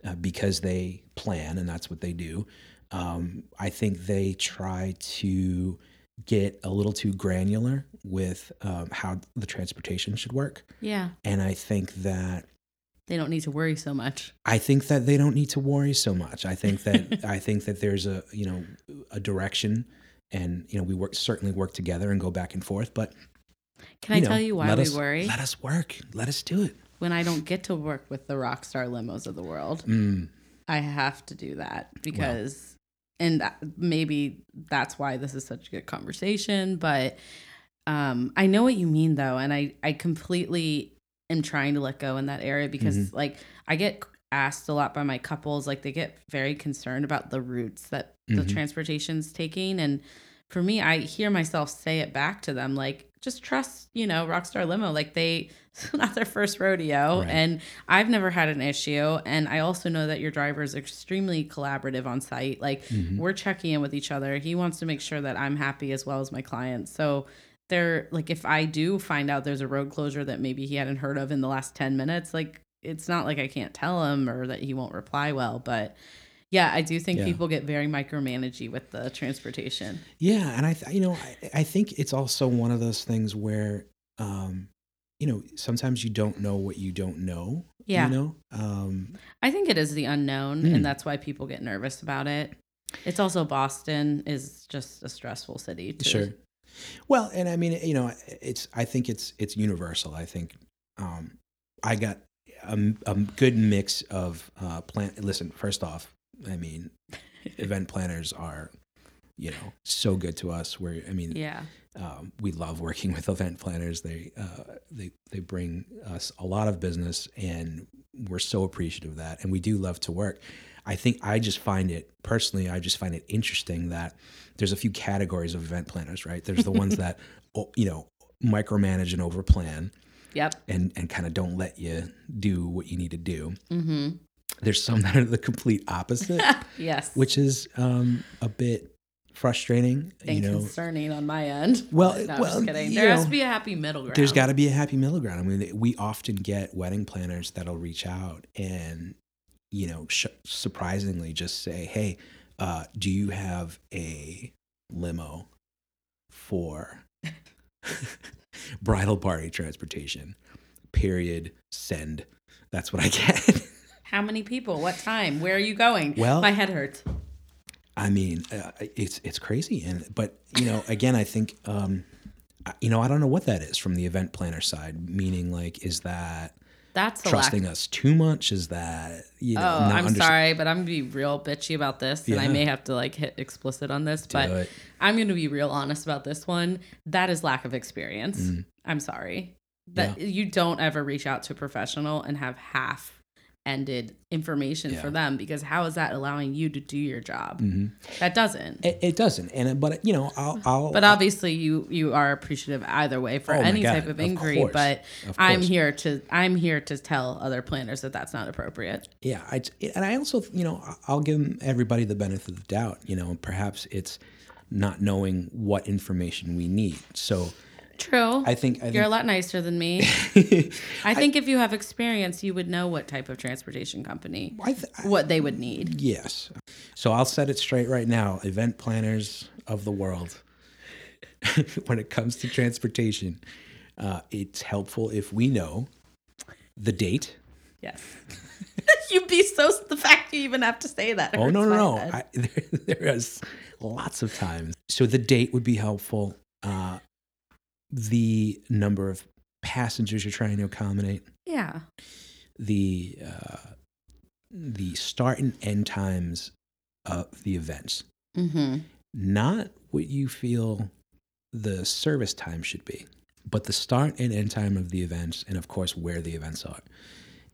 S3: uh, because they plan and that's what they do um, i think they try to get a little too granular with um, how the transportation should work
S2: Yeah.
S3: and i think that
S2: They don't need to worry so much.
S3: I think that they don't need to worry so much. I think that I think that there's a you know a direction, and you know we work certainly work together and go back and forth. But
S2: Can I
S3: know,
S2: tell you why
S3: let
S2: we
S3: us-
S2: worry?
S3: Let us work. Let us do it.
S2: When I don't get to work with the rock star limos of the world,
S3: Mm,
S2: I have to do that because, and that, maybe that's why this is such a good conversation. But um, I know what you mean though, and I I completely am trying to let go in that area because like I get asked a lot by my couples, like they get very concerned about the routes that the
S3: Mhm.
S2: transportation's taking, and for me, I hear myself say it back to them like just trust, you know, Rockstar Limo. Like they, it's not their first rodeo,
S3: Right.
S2: and I've never had an issue. And I also know that your driver is extremely collaborative on site. Like
S3: Mm-hmm.
S2: we're checking in with each other. He wants to make sure that I'm happy as well as my clients. So they're like, if I do find out there's a road closure that maybe he hadn't heard of in the last ten minutes, like it's not like I can't tell him or that he won't reply well, but. Yeah, I do think
S3: Yeah.
S2: people get very micromanagey with the transportation.
S3: Yeah, and I, th- you know, I, I think it's also one of those things where, um, you know, sometimes you don't know what you don't know.
S2: Yeah.
S3: You know, um,
S2: I think it is the unknown,
S3: Mm.
S2: and that's why people get nervous about it. It's also Boston is just a stressful city. To,
S3: sure. Well, and I mean, you know, it's. I think it's it's universal. I think um, I got a, a good mix of uh, plan. Listen, first off, I mean, event planners are, you know, so good to us. Where I mean,
S2: Yeah.
S3: um, we love working with event planners. They uh, they they bring us a lot of business, and we're so appreciative of that. And we do love to work. I think I just find it personally. I just find it interesting that there's a few categories of event planners, right? There's the ones that oh, you know micromanage and overplan,
S2: Yep.
S3: and and kind of don't let you do what you need to do.
S2: hmm
S3: There's some that are the complete opposite,
S2: Yes.
S3: which is um, a bit frustrating.
S2: and
S3: you know,
S2: concerning on my end.
S3: Well,
S2: no,
S3: well,
S2: I'm just kidding.
S3: you
S2: There has
S3: know,
S2: to be a happy middle ground.
S3: There's got to be a happy middle ground. I mean, we often get wedding planners that'll reach out and, you know, sh- surprisingly just say, "Hey, uh, do you have a limo for bridal party transportation?" Period. Send. That's what I get.
S2: How many people? What time? Where are you going?
S3: Well-
S2: my head hurts.
S3: I mean, uh, it's it's crazy, and but you know, again, I think, um, I- you know, I don't know what that is from the event planner side. Meaning, like, is that
S2: That's the lack
S3: trusting us too much? Is that you know?
S2: Oh,
S3: not
S2: I'm
S3: understa-
S2: sorry, but I'm gonna be real bitchy about this, and I
S3: Yeah.
S2: may have to like hit explicit on this, but
S3: it.
S2: I'm gonna be real honest about this one. That is lack of experience.
S3: Mm.
S2: I'm sorry that you don't ever reach out to a professional and have half ended information for
S3: Yeah.
S2: them because how is that allowing you to do your job?
S3: Mhm.
S2: That doesn't.
S3: It, it doesn't, and uh, but you know, I'll, I'll
S2: but obviously, you you are appreciative either way for
S3: Oh my
S2: any
S3: God,
S2: type of
S3: of
S2: inquiry.
S3: course,
S2: but
S3: of
S2: I'm
S3: course.
S2: here to I'm here to tell other planners that that's not appropriate.
S3: yeah, I, and I also, you know, I- I'll give everybody the benefit of the doubt. You know, perhaps it's not knowing what information we need. So
S2: True.
S3: I think I
S2: You're a
S3: think,
S2: lot nicer than me. I think if you have experience, you would know what type of transportation company,
S3: I th-
S2: what they would need.
S3: yes. So I'll set it straight right now, event planners of the world. when it comes to transportation, uh, it's helpful if we know the date
S2: Yes. You'd be so, the fact you even have to say that.
S3: Oh
S2: hurts
S3: no
S2: my
S3: no no!
S2: head.
S3: I, there, there is lots of times. So the date would be helpful. Uh, the number of passengers you're trying to accommodate,
S2: yeah.
S3: the uh, the start and end times of the events,
S2: Mm-hmm.
S3: not what you feel the service time should be, but the start and end time of the events, and of course where the events are.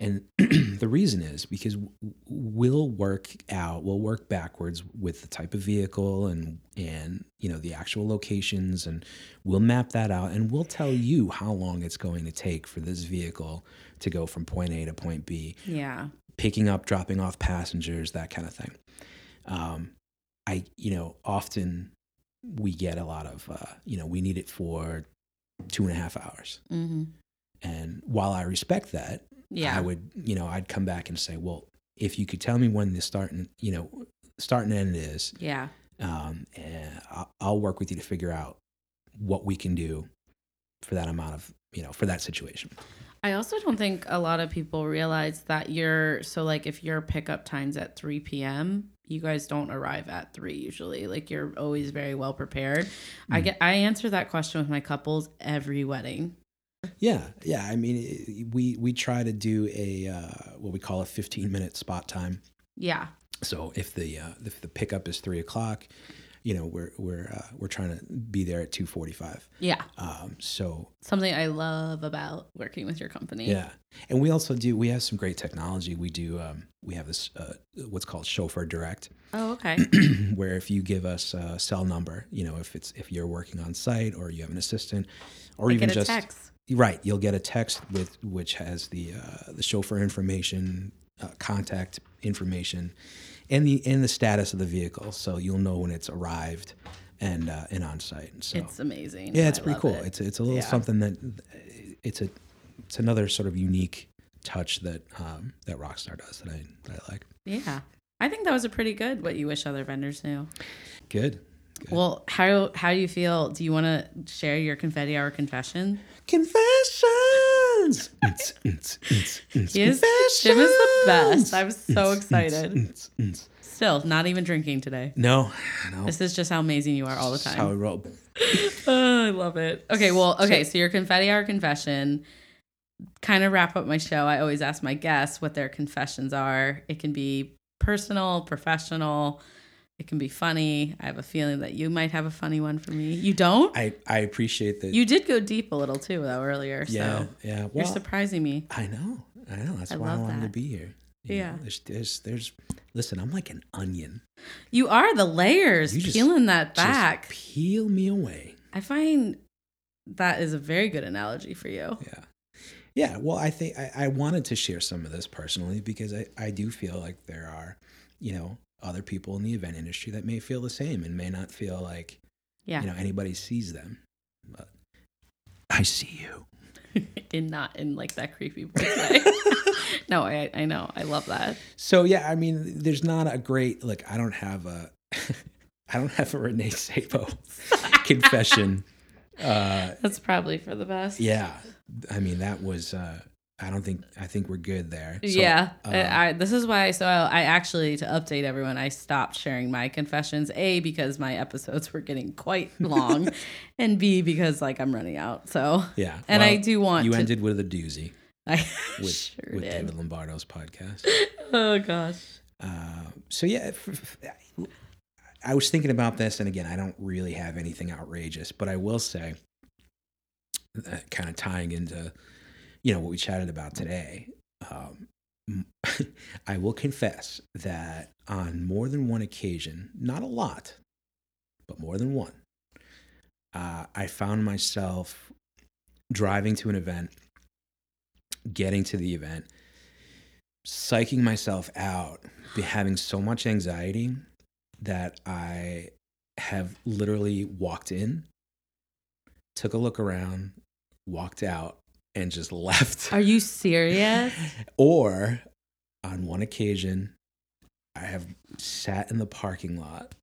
S3: And the reason is because w- we'll work out, we'll work backwards with the type of vehicle and and you know the actual locations, and we'll map that out, and we'll tell you how long it's going to take for this vehicle to go from point A to point B,
S2: Yeah.
S3: picking up, dropping off passengers, that kind of thing. Um, I, you know, often we get a lot of, uh, you know, we need it for two and a half hours.
S2: Mm-hmm.
S3: And while I respect that,
S2: Yeah.
S3: I would, you know, I'd come back and say, well, if you could tell me when the start and, you know, start and end is,
S2: yeah.
S3: um, and I'll, I'll work with you to figure out what we can do for that amount of, you know, for that situation.
S2: I also don't think a lot of people realize that you're, so like if your pickup time's at 3 p.m., you guys don't arrive at 3 usually. Like you're always very well prepared.
S3: Mm.
S2: I get, I answer that question with my couples every wedding.
S3: Yeah, yeah. I mean, it- we we try to do a uh, what we call a fifteen minute spot time.
S2: Yeah.
S3: So if the uh, if the pickup is three o'clock, you know we're we're uh, we're trying to be there at 2:45.
S2: Yeah.
S3: Um, so
S2: Something I love about working with your company.
S3: yeah, and we also do we have some great technology. We do um, we have this uh, what's called chauffeur direct,
S2: Oh, okay.
S3: where if you give us a cell number, you know if it's if you're working on site or you have an assistant, or
S2: I
S3: even
S2: get a
S3: just
S2: text.
S3: right, you'll get a text with which has the uh, the chauffeur information, uh, contact information, and the and the status of the vehicle, so you'll know when it's arrived and uh, and on site. So
S2: It's amazing.
S3: yeah, it's
S2: I
S3: pretty
S2: love
S3: cool.
S2: it.
S3: It's it's a little
S2: Yeah.
S3: something that it's a it's another sort of unique touch that um, that Rockstar does that I that I like.
S2: yeah. I think that was a pretty good what you wish other vendors knew.
S3: Good.
S2: Well, how how do you feel? Do you want to share your confetti hour confession?
S3: Confessions. Ns, ns, ns, ns.
S2: He is, Jim is the best. I'm so
S3: Ns, ns,
S2: excited.
S3: ns, ns.
S2: Still, not even drinking today.
S3: No, no.
S2: This is just how amazing you are all the
S3: That's how
S2: time.
S3: we roll.
S2: Oh, I love it. Okay, well, okay. So your confetti hour confession kind of wrap up my show. I always ask my guests what their confessions are. It can be personal, professional. It can be funny. I have a feeling that you might have a funny one for me. You don't?
S3: I I appreciate that.
S2: you did go deep a little too though earlier.
S3: yeah
S2: so
S3: yeah.
S2: you're
S3: Well,
S2: surprising me.
S3: I know I know. That's
S2: I
S3: why I
S2: love
S3: wanted to
S2: that.
S3: be here. You know,
S2: Yeah.
S3: there's there's there's. Listen, I'm like an onion.
S2: You are the layers
S3: You just-
S2: peeling that
S3: Just
S2: back.
S3: peel me away.
S2: I find that is a very good analogy for you.
S3: Yeah. Yeah. Well, I think I, I wanted to share some of this personally because I, I do feel like there are, you know, other people in the event industry that may feel the same and may not feel like,
S2: Yeah.
S3: you know, anybody sees them. But I see you.
S2: and not in like that creepy voice way. no, I I know. I love that.
S3: So, yeah, I mean, there's not a great, like, I don't have a, I don't have a Renee Sabo confession. Uh,
S2: That's probably for the best.
S3: yeah. I mean, that was, uh, I don't think, I think we're good there. So,
S2: yeah,
S3: uh,
S2: I, I- this is why. So I, I actually, to update everyone, I stopped sharing my confessions. A because my episodes were getting quite long, and B because like I'm running out. So
S3: yeah.
S2: and I
S3: Well,
S2: do want
S3: You
S2: to.
S3: ended with a doozy.
S2: I
S3: with,
S2: sure
S3: with
S2: did.
S3: David Lombardo's podcast.
S2: Oh gosh.
S3: Uh, so yeah, f- f- I- I was thinking about this, and again, I don't really have anything outrageous, but I will say, uh, kind of tying into, you know, what we chatted about today. Um, m- I will confess that on more than one occasion, not a lot, but more than one, uh, I found myself driving to an event, getting to the event, psyching myself out, be having so much anxiety that I have literally walked in, took a look around, walked out, and just left.
S2: Are you serious?
S3: Or on one occasion, I have sat in the parking lot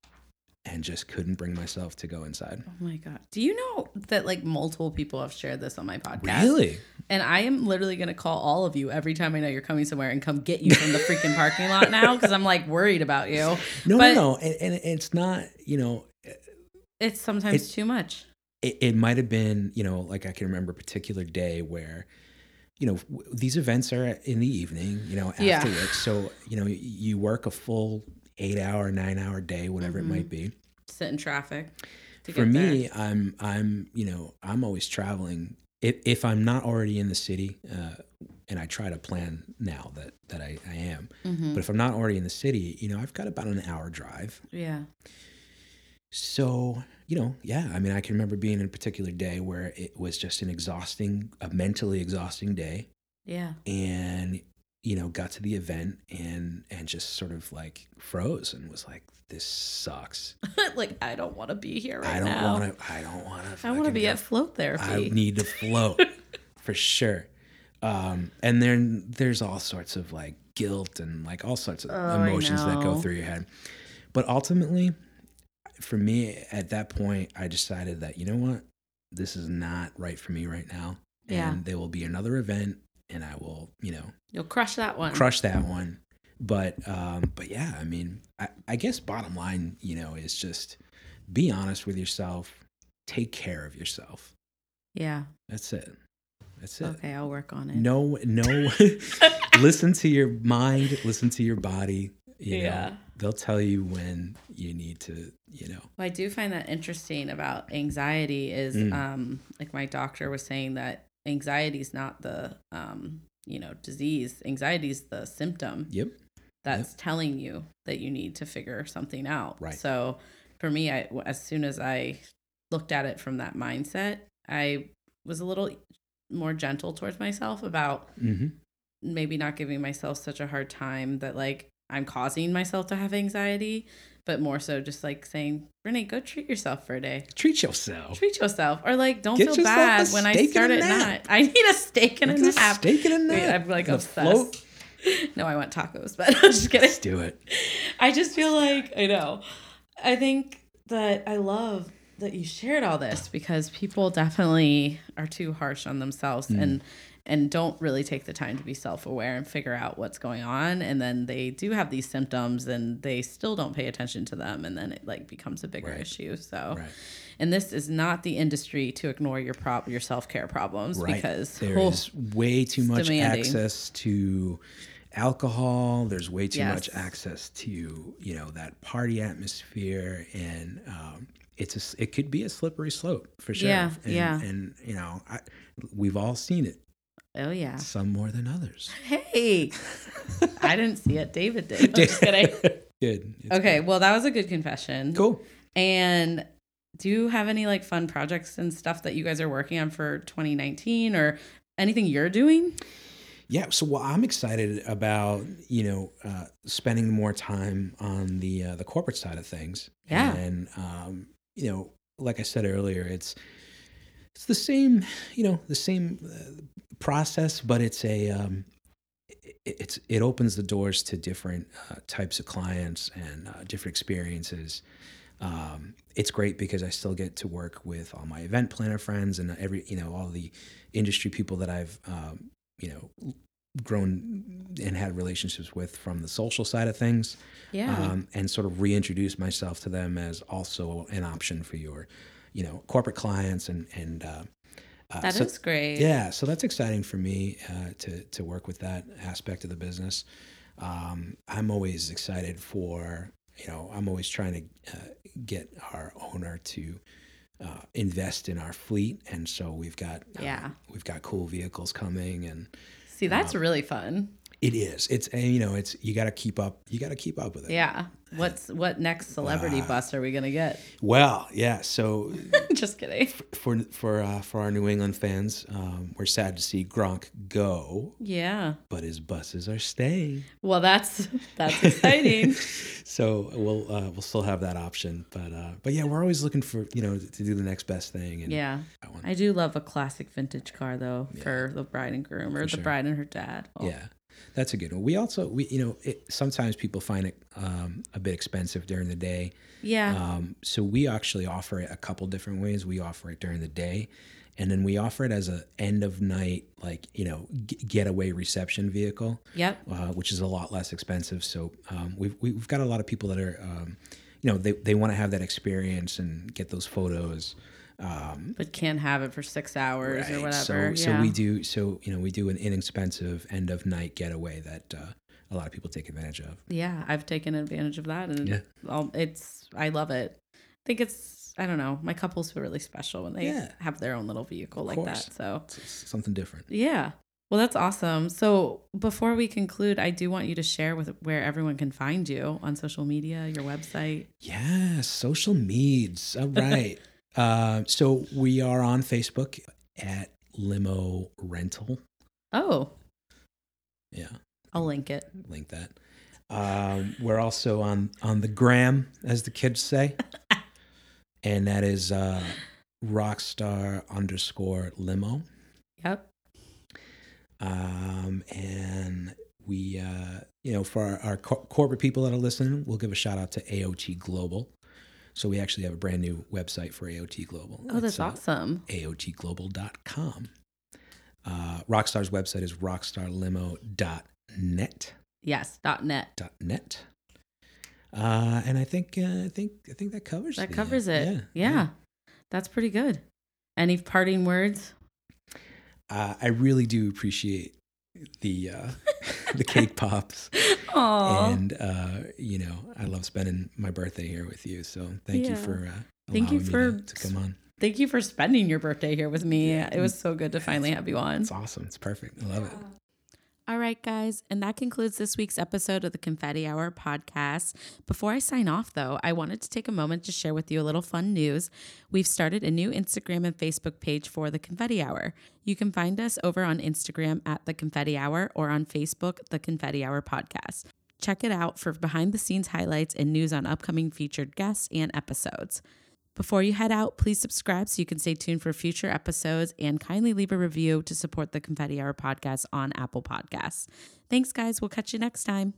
S3: and just couldn't bring myself to go inside.
S2: Oh my god. Do you know that like multiple people have shared this on my podcast?
S3: Really?
S2: And I am literally going to call all of you every time I know you're coming somewhere and come get you from the freaking parking lot now because I'm like worried about you.
S3: No,
S2: But-
S3: no, no. And, and it's not, you know,
S2: It's sometimes
S3: It-
S2: too much.
S3: it, it might have been, you know, like I can remember a particular day where, you know, w- these events are in the evening, you know, after
S2: Yeah.
S3: work. So, you know, y- you work a full eight hour, nine hour day, whatever
S2: Mhm.
S3: it might be.
S2: Sit in traffic. To
S3: For
S2: get there.
S3: me, I'm, I'm, you know, I'm always traveling. If, if I'm not already in the city, uh, and I try to plan now that, that I, I am,
S2: Mhm.
S3: but if I'm not already in the city, you know, I've got about an hour drive.
S2: yeah,
S3: So, you know, yeah, I mean, I can remember being in a particular day where it was just an exhausting, a mentally exhausting day
S2: yeah,
S3: and you know, got to the event and and just sort of like froze and was like this sucks.
S2: like I don't want to be here right
S3: I don't
S2: now.
S3: want to I don't want to
S2: I want to be at float
S3: I
S2: therapy.
S3: need to float for sure. Um and then there's all sorts of like guilt and like all sorts of
S2: Oh, I
S3: emotions that go
S2: know.
S3: through your head. But ultimately, for me at that point, I decided that you know what, this is not right for me right now,
S2: Yeah.
S3: and there will be another event, and I will you know
S2: You'll crush that one.
S3: crush that one. But um, but yeah, I mean, I, I guess bottom line, you know, is just be honest with yourself, take care of yourself.
S2: yeah.
S3: That's it. That's it.
S2: Okay, I'll work on it.
S3: No, no. listen to your mind. Listen to your body. You know,
S2: Yeah.
S3: they'll tell you when you need to, you know.
S2: Well, I do find that interesting about anxiety is
S3: Mm.
S2: um like my doctor was saying that anxiety is not the um you know disease anxiety is the symptom
S3: Yep.
S2: that's telling you that you need to figure something out
S3: Right.
S2: so for me I as soon as I looked at it from that mindset I was a little more gentle towards myself about
S3: hmm
S2: maybe not giving myself such a hard time that like I'm causing myself to have anxiety, but more so just like saying, Renee, go treat yourself for a day.
S3: Treat yourself.
S2: Treat yourself, or like don't
S3: Oh. Get
S2: feel
S3: yourself a
S2: bad when I
S3: steak and
S2: start
S3: a
S2: at nine.
S3: nap.
S2: I need a steak and a
S3: Look at
S2: nap.
S3: Steak and a
S2: Wait,
S3: nap.
S2: I'm like
S3: and a
S2: obsessed. No, I want tacos, but I'm just kidding.
S3: Let's do it.
S2: I just feel like I know. I think that I love that you shared all this because people definitely are too harsh on themselves
S3: Mm.
S2: and and don't really take the time to be self-aware and figure out what's going on and then they do have these symptoms and they still don't pay attention to them and then it like becomes a bigger
S3: Right.
S2: issue so
S3: Right.
S2: and this is not the industry to ignore your prob your self-care problems
S3: Right.
S2: because
S3: there
S2: oh,
S3: is way too much
S2: demanding.
S3: access to alcohol. There's way too much
S2: Yes.
S3: access to you know that party atmosphere, and um, it's a, s- it could be a slippery slope for sure.
S2: Yeah,
S3: and,
S2: yeah.
S3: And you know, I, we've all seen it,
S2: oh yeah
S3: some more than others.
S2: hey i didn't see it david did i'm just kidding
S3: Good. It's
S2: Okay, well, that was a good confession.
S3: Cool.
S2: And do you have any like fun projects and stuff that you guys are working on for 2019 or anything you're doing?
S3: Yeah, so well, I'm excited about you know uh, spending more time on the uh, the corporate side of things.
S2: Yeah.
S3: and um, you know, like I said earlier, it's it's the same you know the same uh, process, but it's a um, it, it's it opens the doors to different uh, types of clients and uh, different experiences. Um, it's great because I still get to work with all my event planner friends and every you know all the industry people that I've um, you know grown and had relationships with from the social side of things um, and sort of reintroduce myself to them as also an option for your you know corporate clients and and uh, uh,
S2: that is
S3: so-
S2: great.
S3: yeah, so that's exciting for me uh, to to work with that aspect of the business. Um, I'm always excited for you know I'm always trying to uh, get our owner to uh, invest in our fleet, and so we've got uh,
S2: Yeah.
S3: we've got cool vehicles coming, and
S2: See, that's really fun.
S3: it is it's and, you know it's you got to keep up you got to keep up with it.
S2: Yeah. What's what next celebrity bus are we going to get?
S3: Well, yeah. So
S2: just kidding.
S3: for for uh, for our New England fans, um, we're sad to see Gronk go,
S2: Yeah.
S3: but his buses are staying.
S2: Well, that's that's exciting.
S3: so we'll uh, we'll still have that option, but uh, but yeah, we're always looking for you know to do the next best thing. And
S2: yeah.
S3: that one.
S2: I do love a classic vintage car though for the bride and groom or the
S3: sure.
S2: bride and her dad. Oh,
S3: yeah, that's a good one. We also we you know it, sometimes people find it um, a bit expensive during the day,
S2: Yeah.
S3: um, so we actually offer it a couple different ways. We offer it during the day. And then we offer it as a end of night, like you know, g- getaway reception vehicle.
S2: yep.
S3: uh, which is a lot less expensive. So um, we've we've got a lot of people that are, um, you know, they they want to have that experience and get those photos. Um,
S2: But can't have it for 6 hours or
S3: right.
S2: whatever. yeah.
S3: So so we do so you know we do an inexpensive end of night getaway that uh, a lot of people take advantage of.
S2: yeah i've taken advantage of that and
S3: Yeah.
S2: I'll- it's i love it i think it's i don't know my couples feel really special when they
S3: Yeah.
S2: have their own little vehicle like
S3: course.
S2: that so
S3: It's, it's something different.
S2: yeah well that's awesome so before we conclude i do want you to share with where everyone can find you on social media your website
S3: Yeah, social meds. All right. uh, so we are on Facebook at Limo Rental.
S2: oh
S3: Yeah.
S2: i'll link it
S3: link that. Um, we're also on on the gram, as the kids say, and that is uh, rockstar underscore limo.
S2: yep
S3: Um, and we, uh, you know, for our, our cor- corporate people that are listening, we'll give a shout out to AOT Global. So we actually have a brand new website for AOT Global.
S2: oh that's
S3: It's, uh,
S2: awesome
S3: AOTglobal.com. Uh, Rockstar's website is rockstarlimo.net.
S2: yes dot net
S3: dot net. Uh, and I think uh, I think I think that covers
S2: that
S3: the, uh,
S2: covers it yeah, that's pretty good any parting words
S3: Uh, I really do appreciate the uh, the cake pops.
S2: Aw.
S3: and uh, you know, I love spending my birthday here with you. So thank you
S2: Yeah.
S3: for uh,
S2: Thank you
S3: allowing
S2: for-
S3: me to, to come on.
S2: Thank you for spending your birthday here with me. It was so good to finally have you on.
S3: It's awesome. It's perfect. I love it.
S2: All right, guys, and that concludes this week's episode of the Confetti Hour podcast. Before I sign off, though, I wanted to take a moment to share with you a little fun news. We've started a new Instagram and Facebook page for the Confetti Hour. You can find us over on Instagram at the Confetti Hour or on Facebook, the Confetti Hour podcast. Check it out for behind the scenes highlights and news on upcoming featured guests and episodes. Before you head out, please subscribe so you can stay tuned for future episodes and kindly leave a review to support the Confetti Hour podcast on Apple Podcasts. Thanks, guys. We'll catch you next time.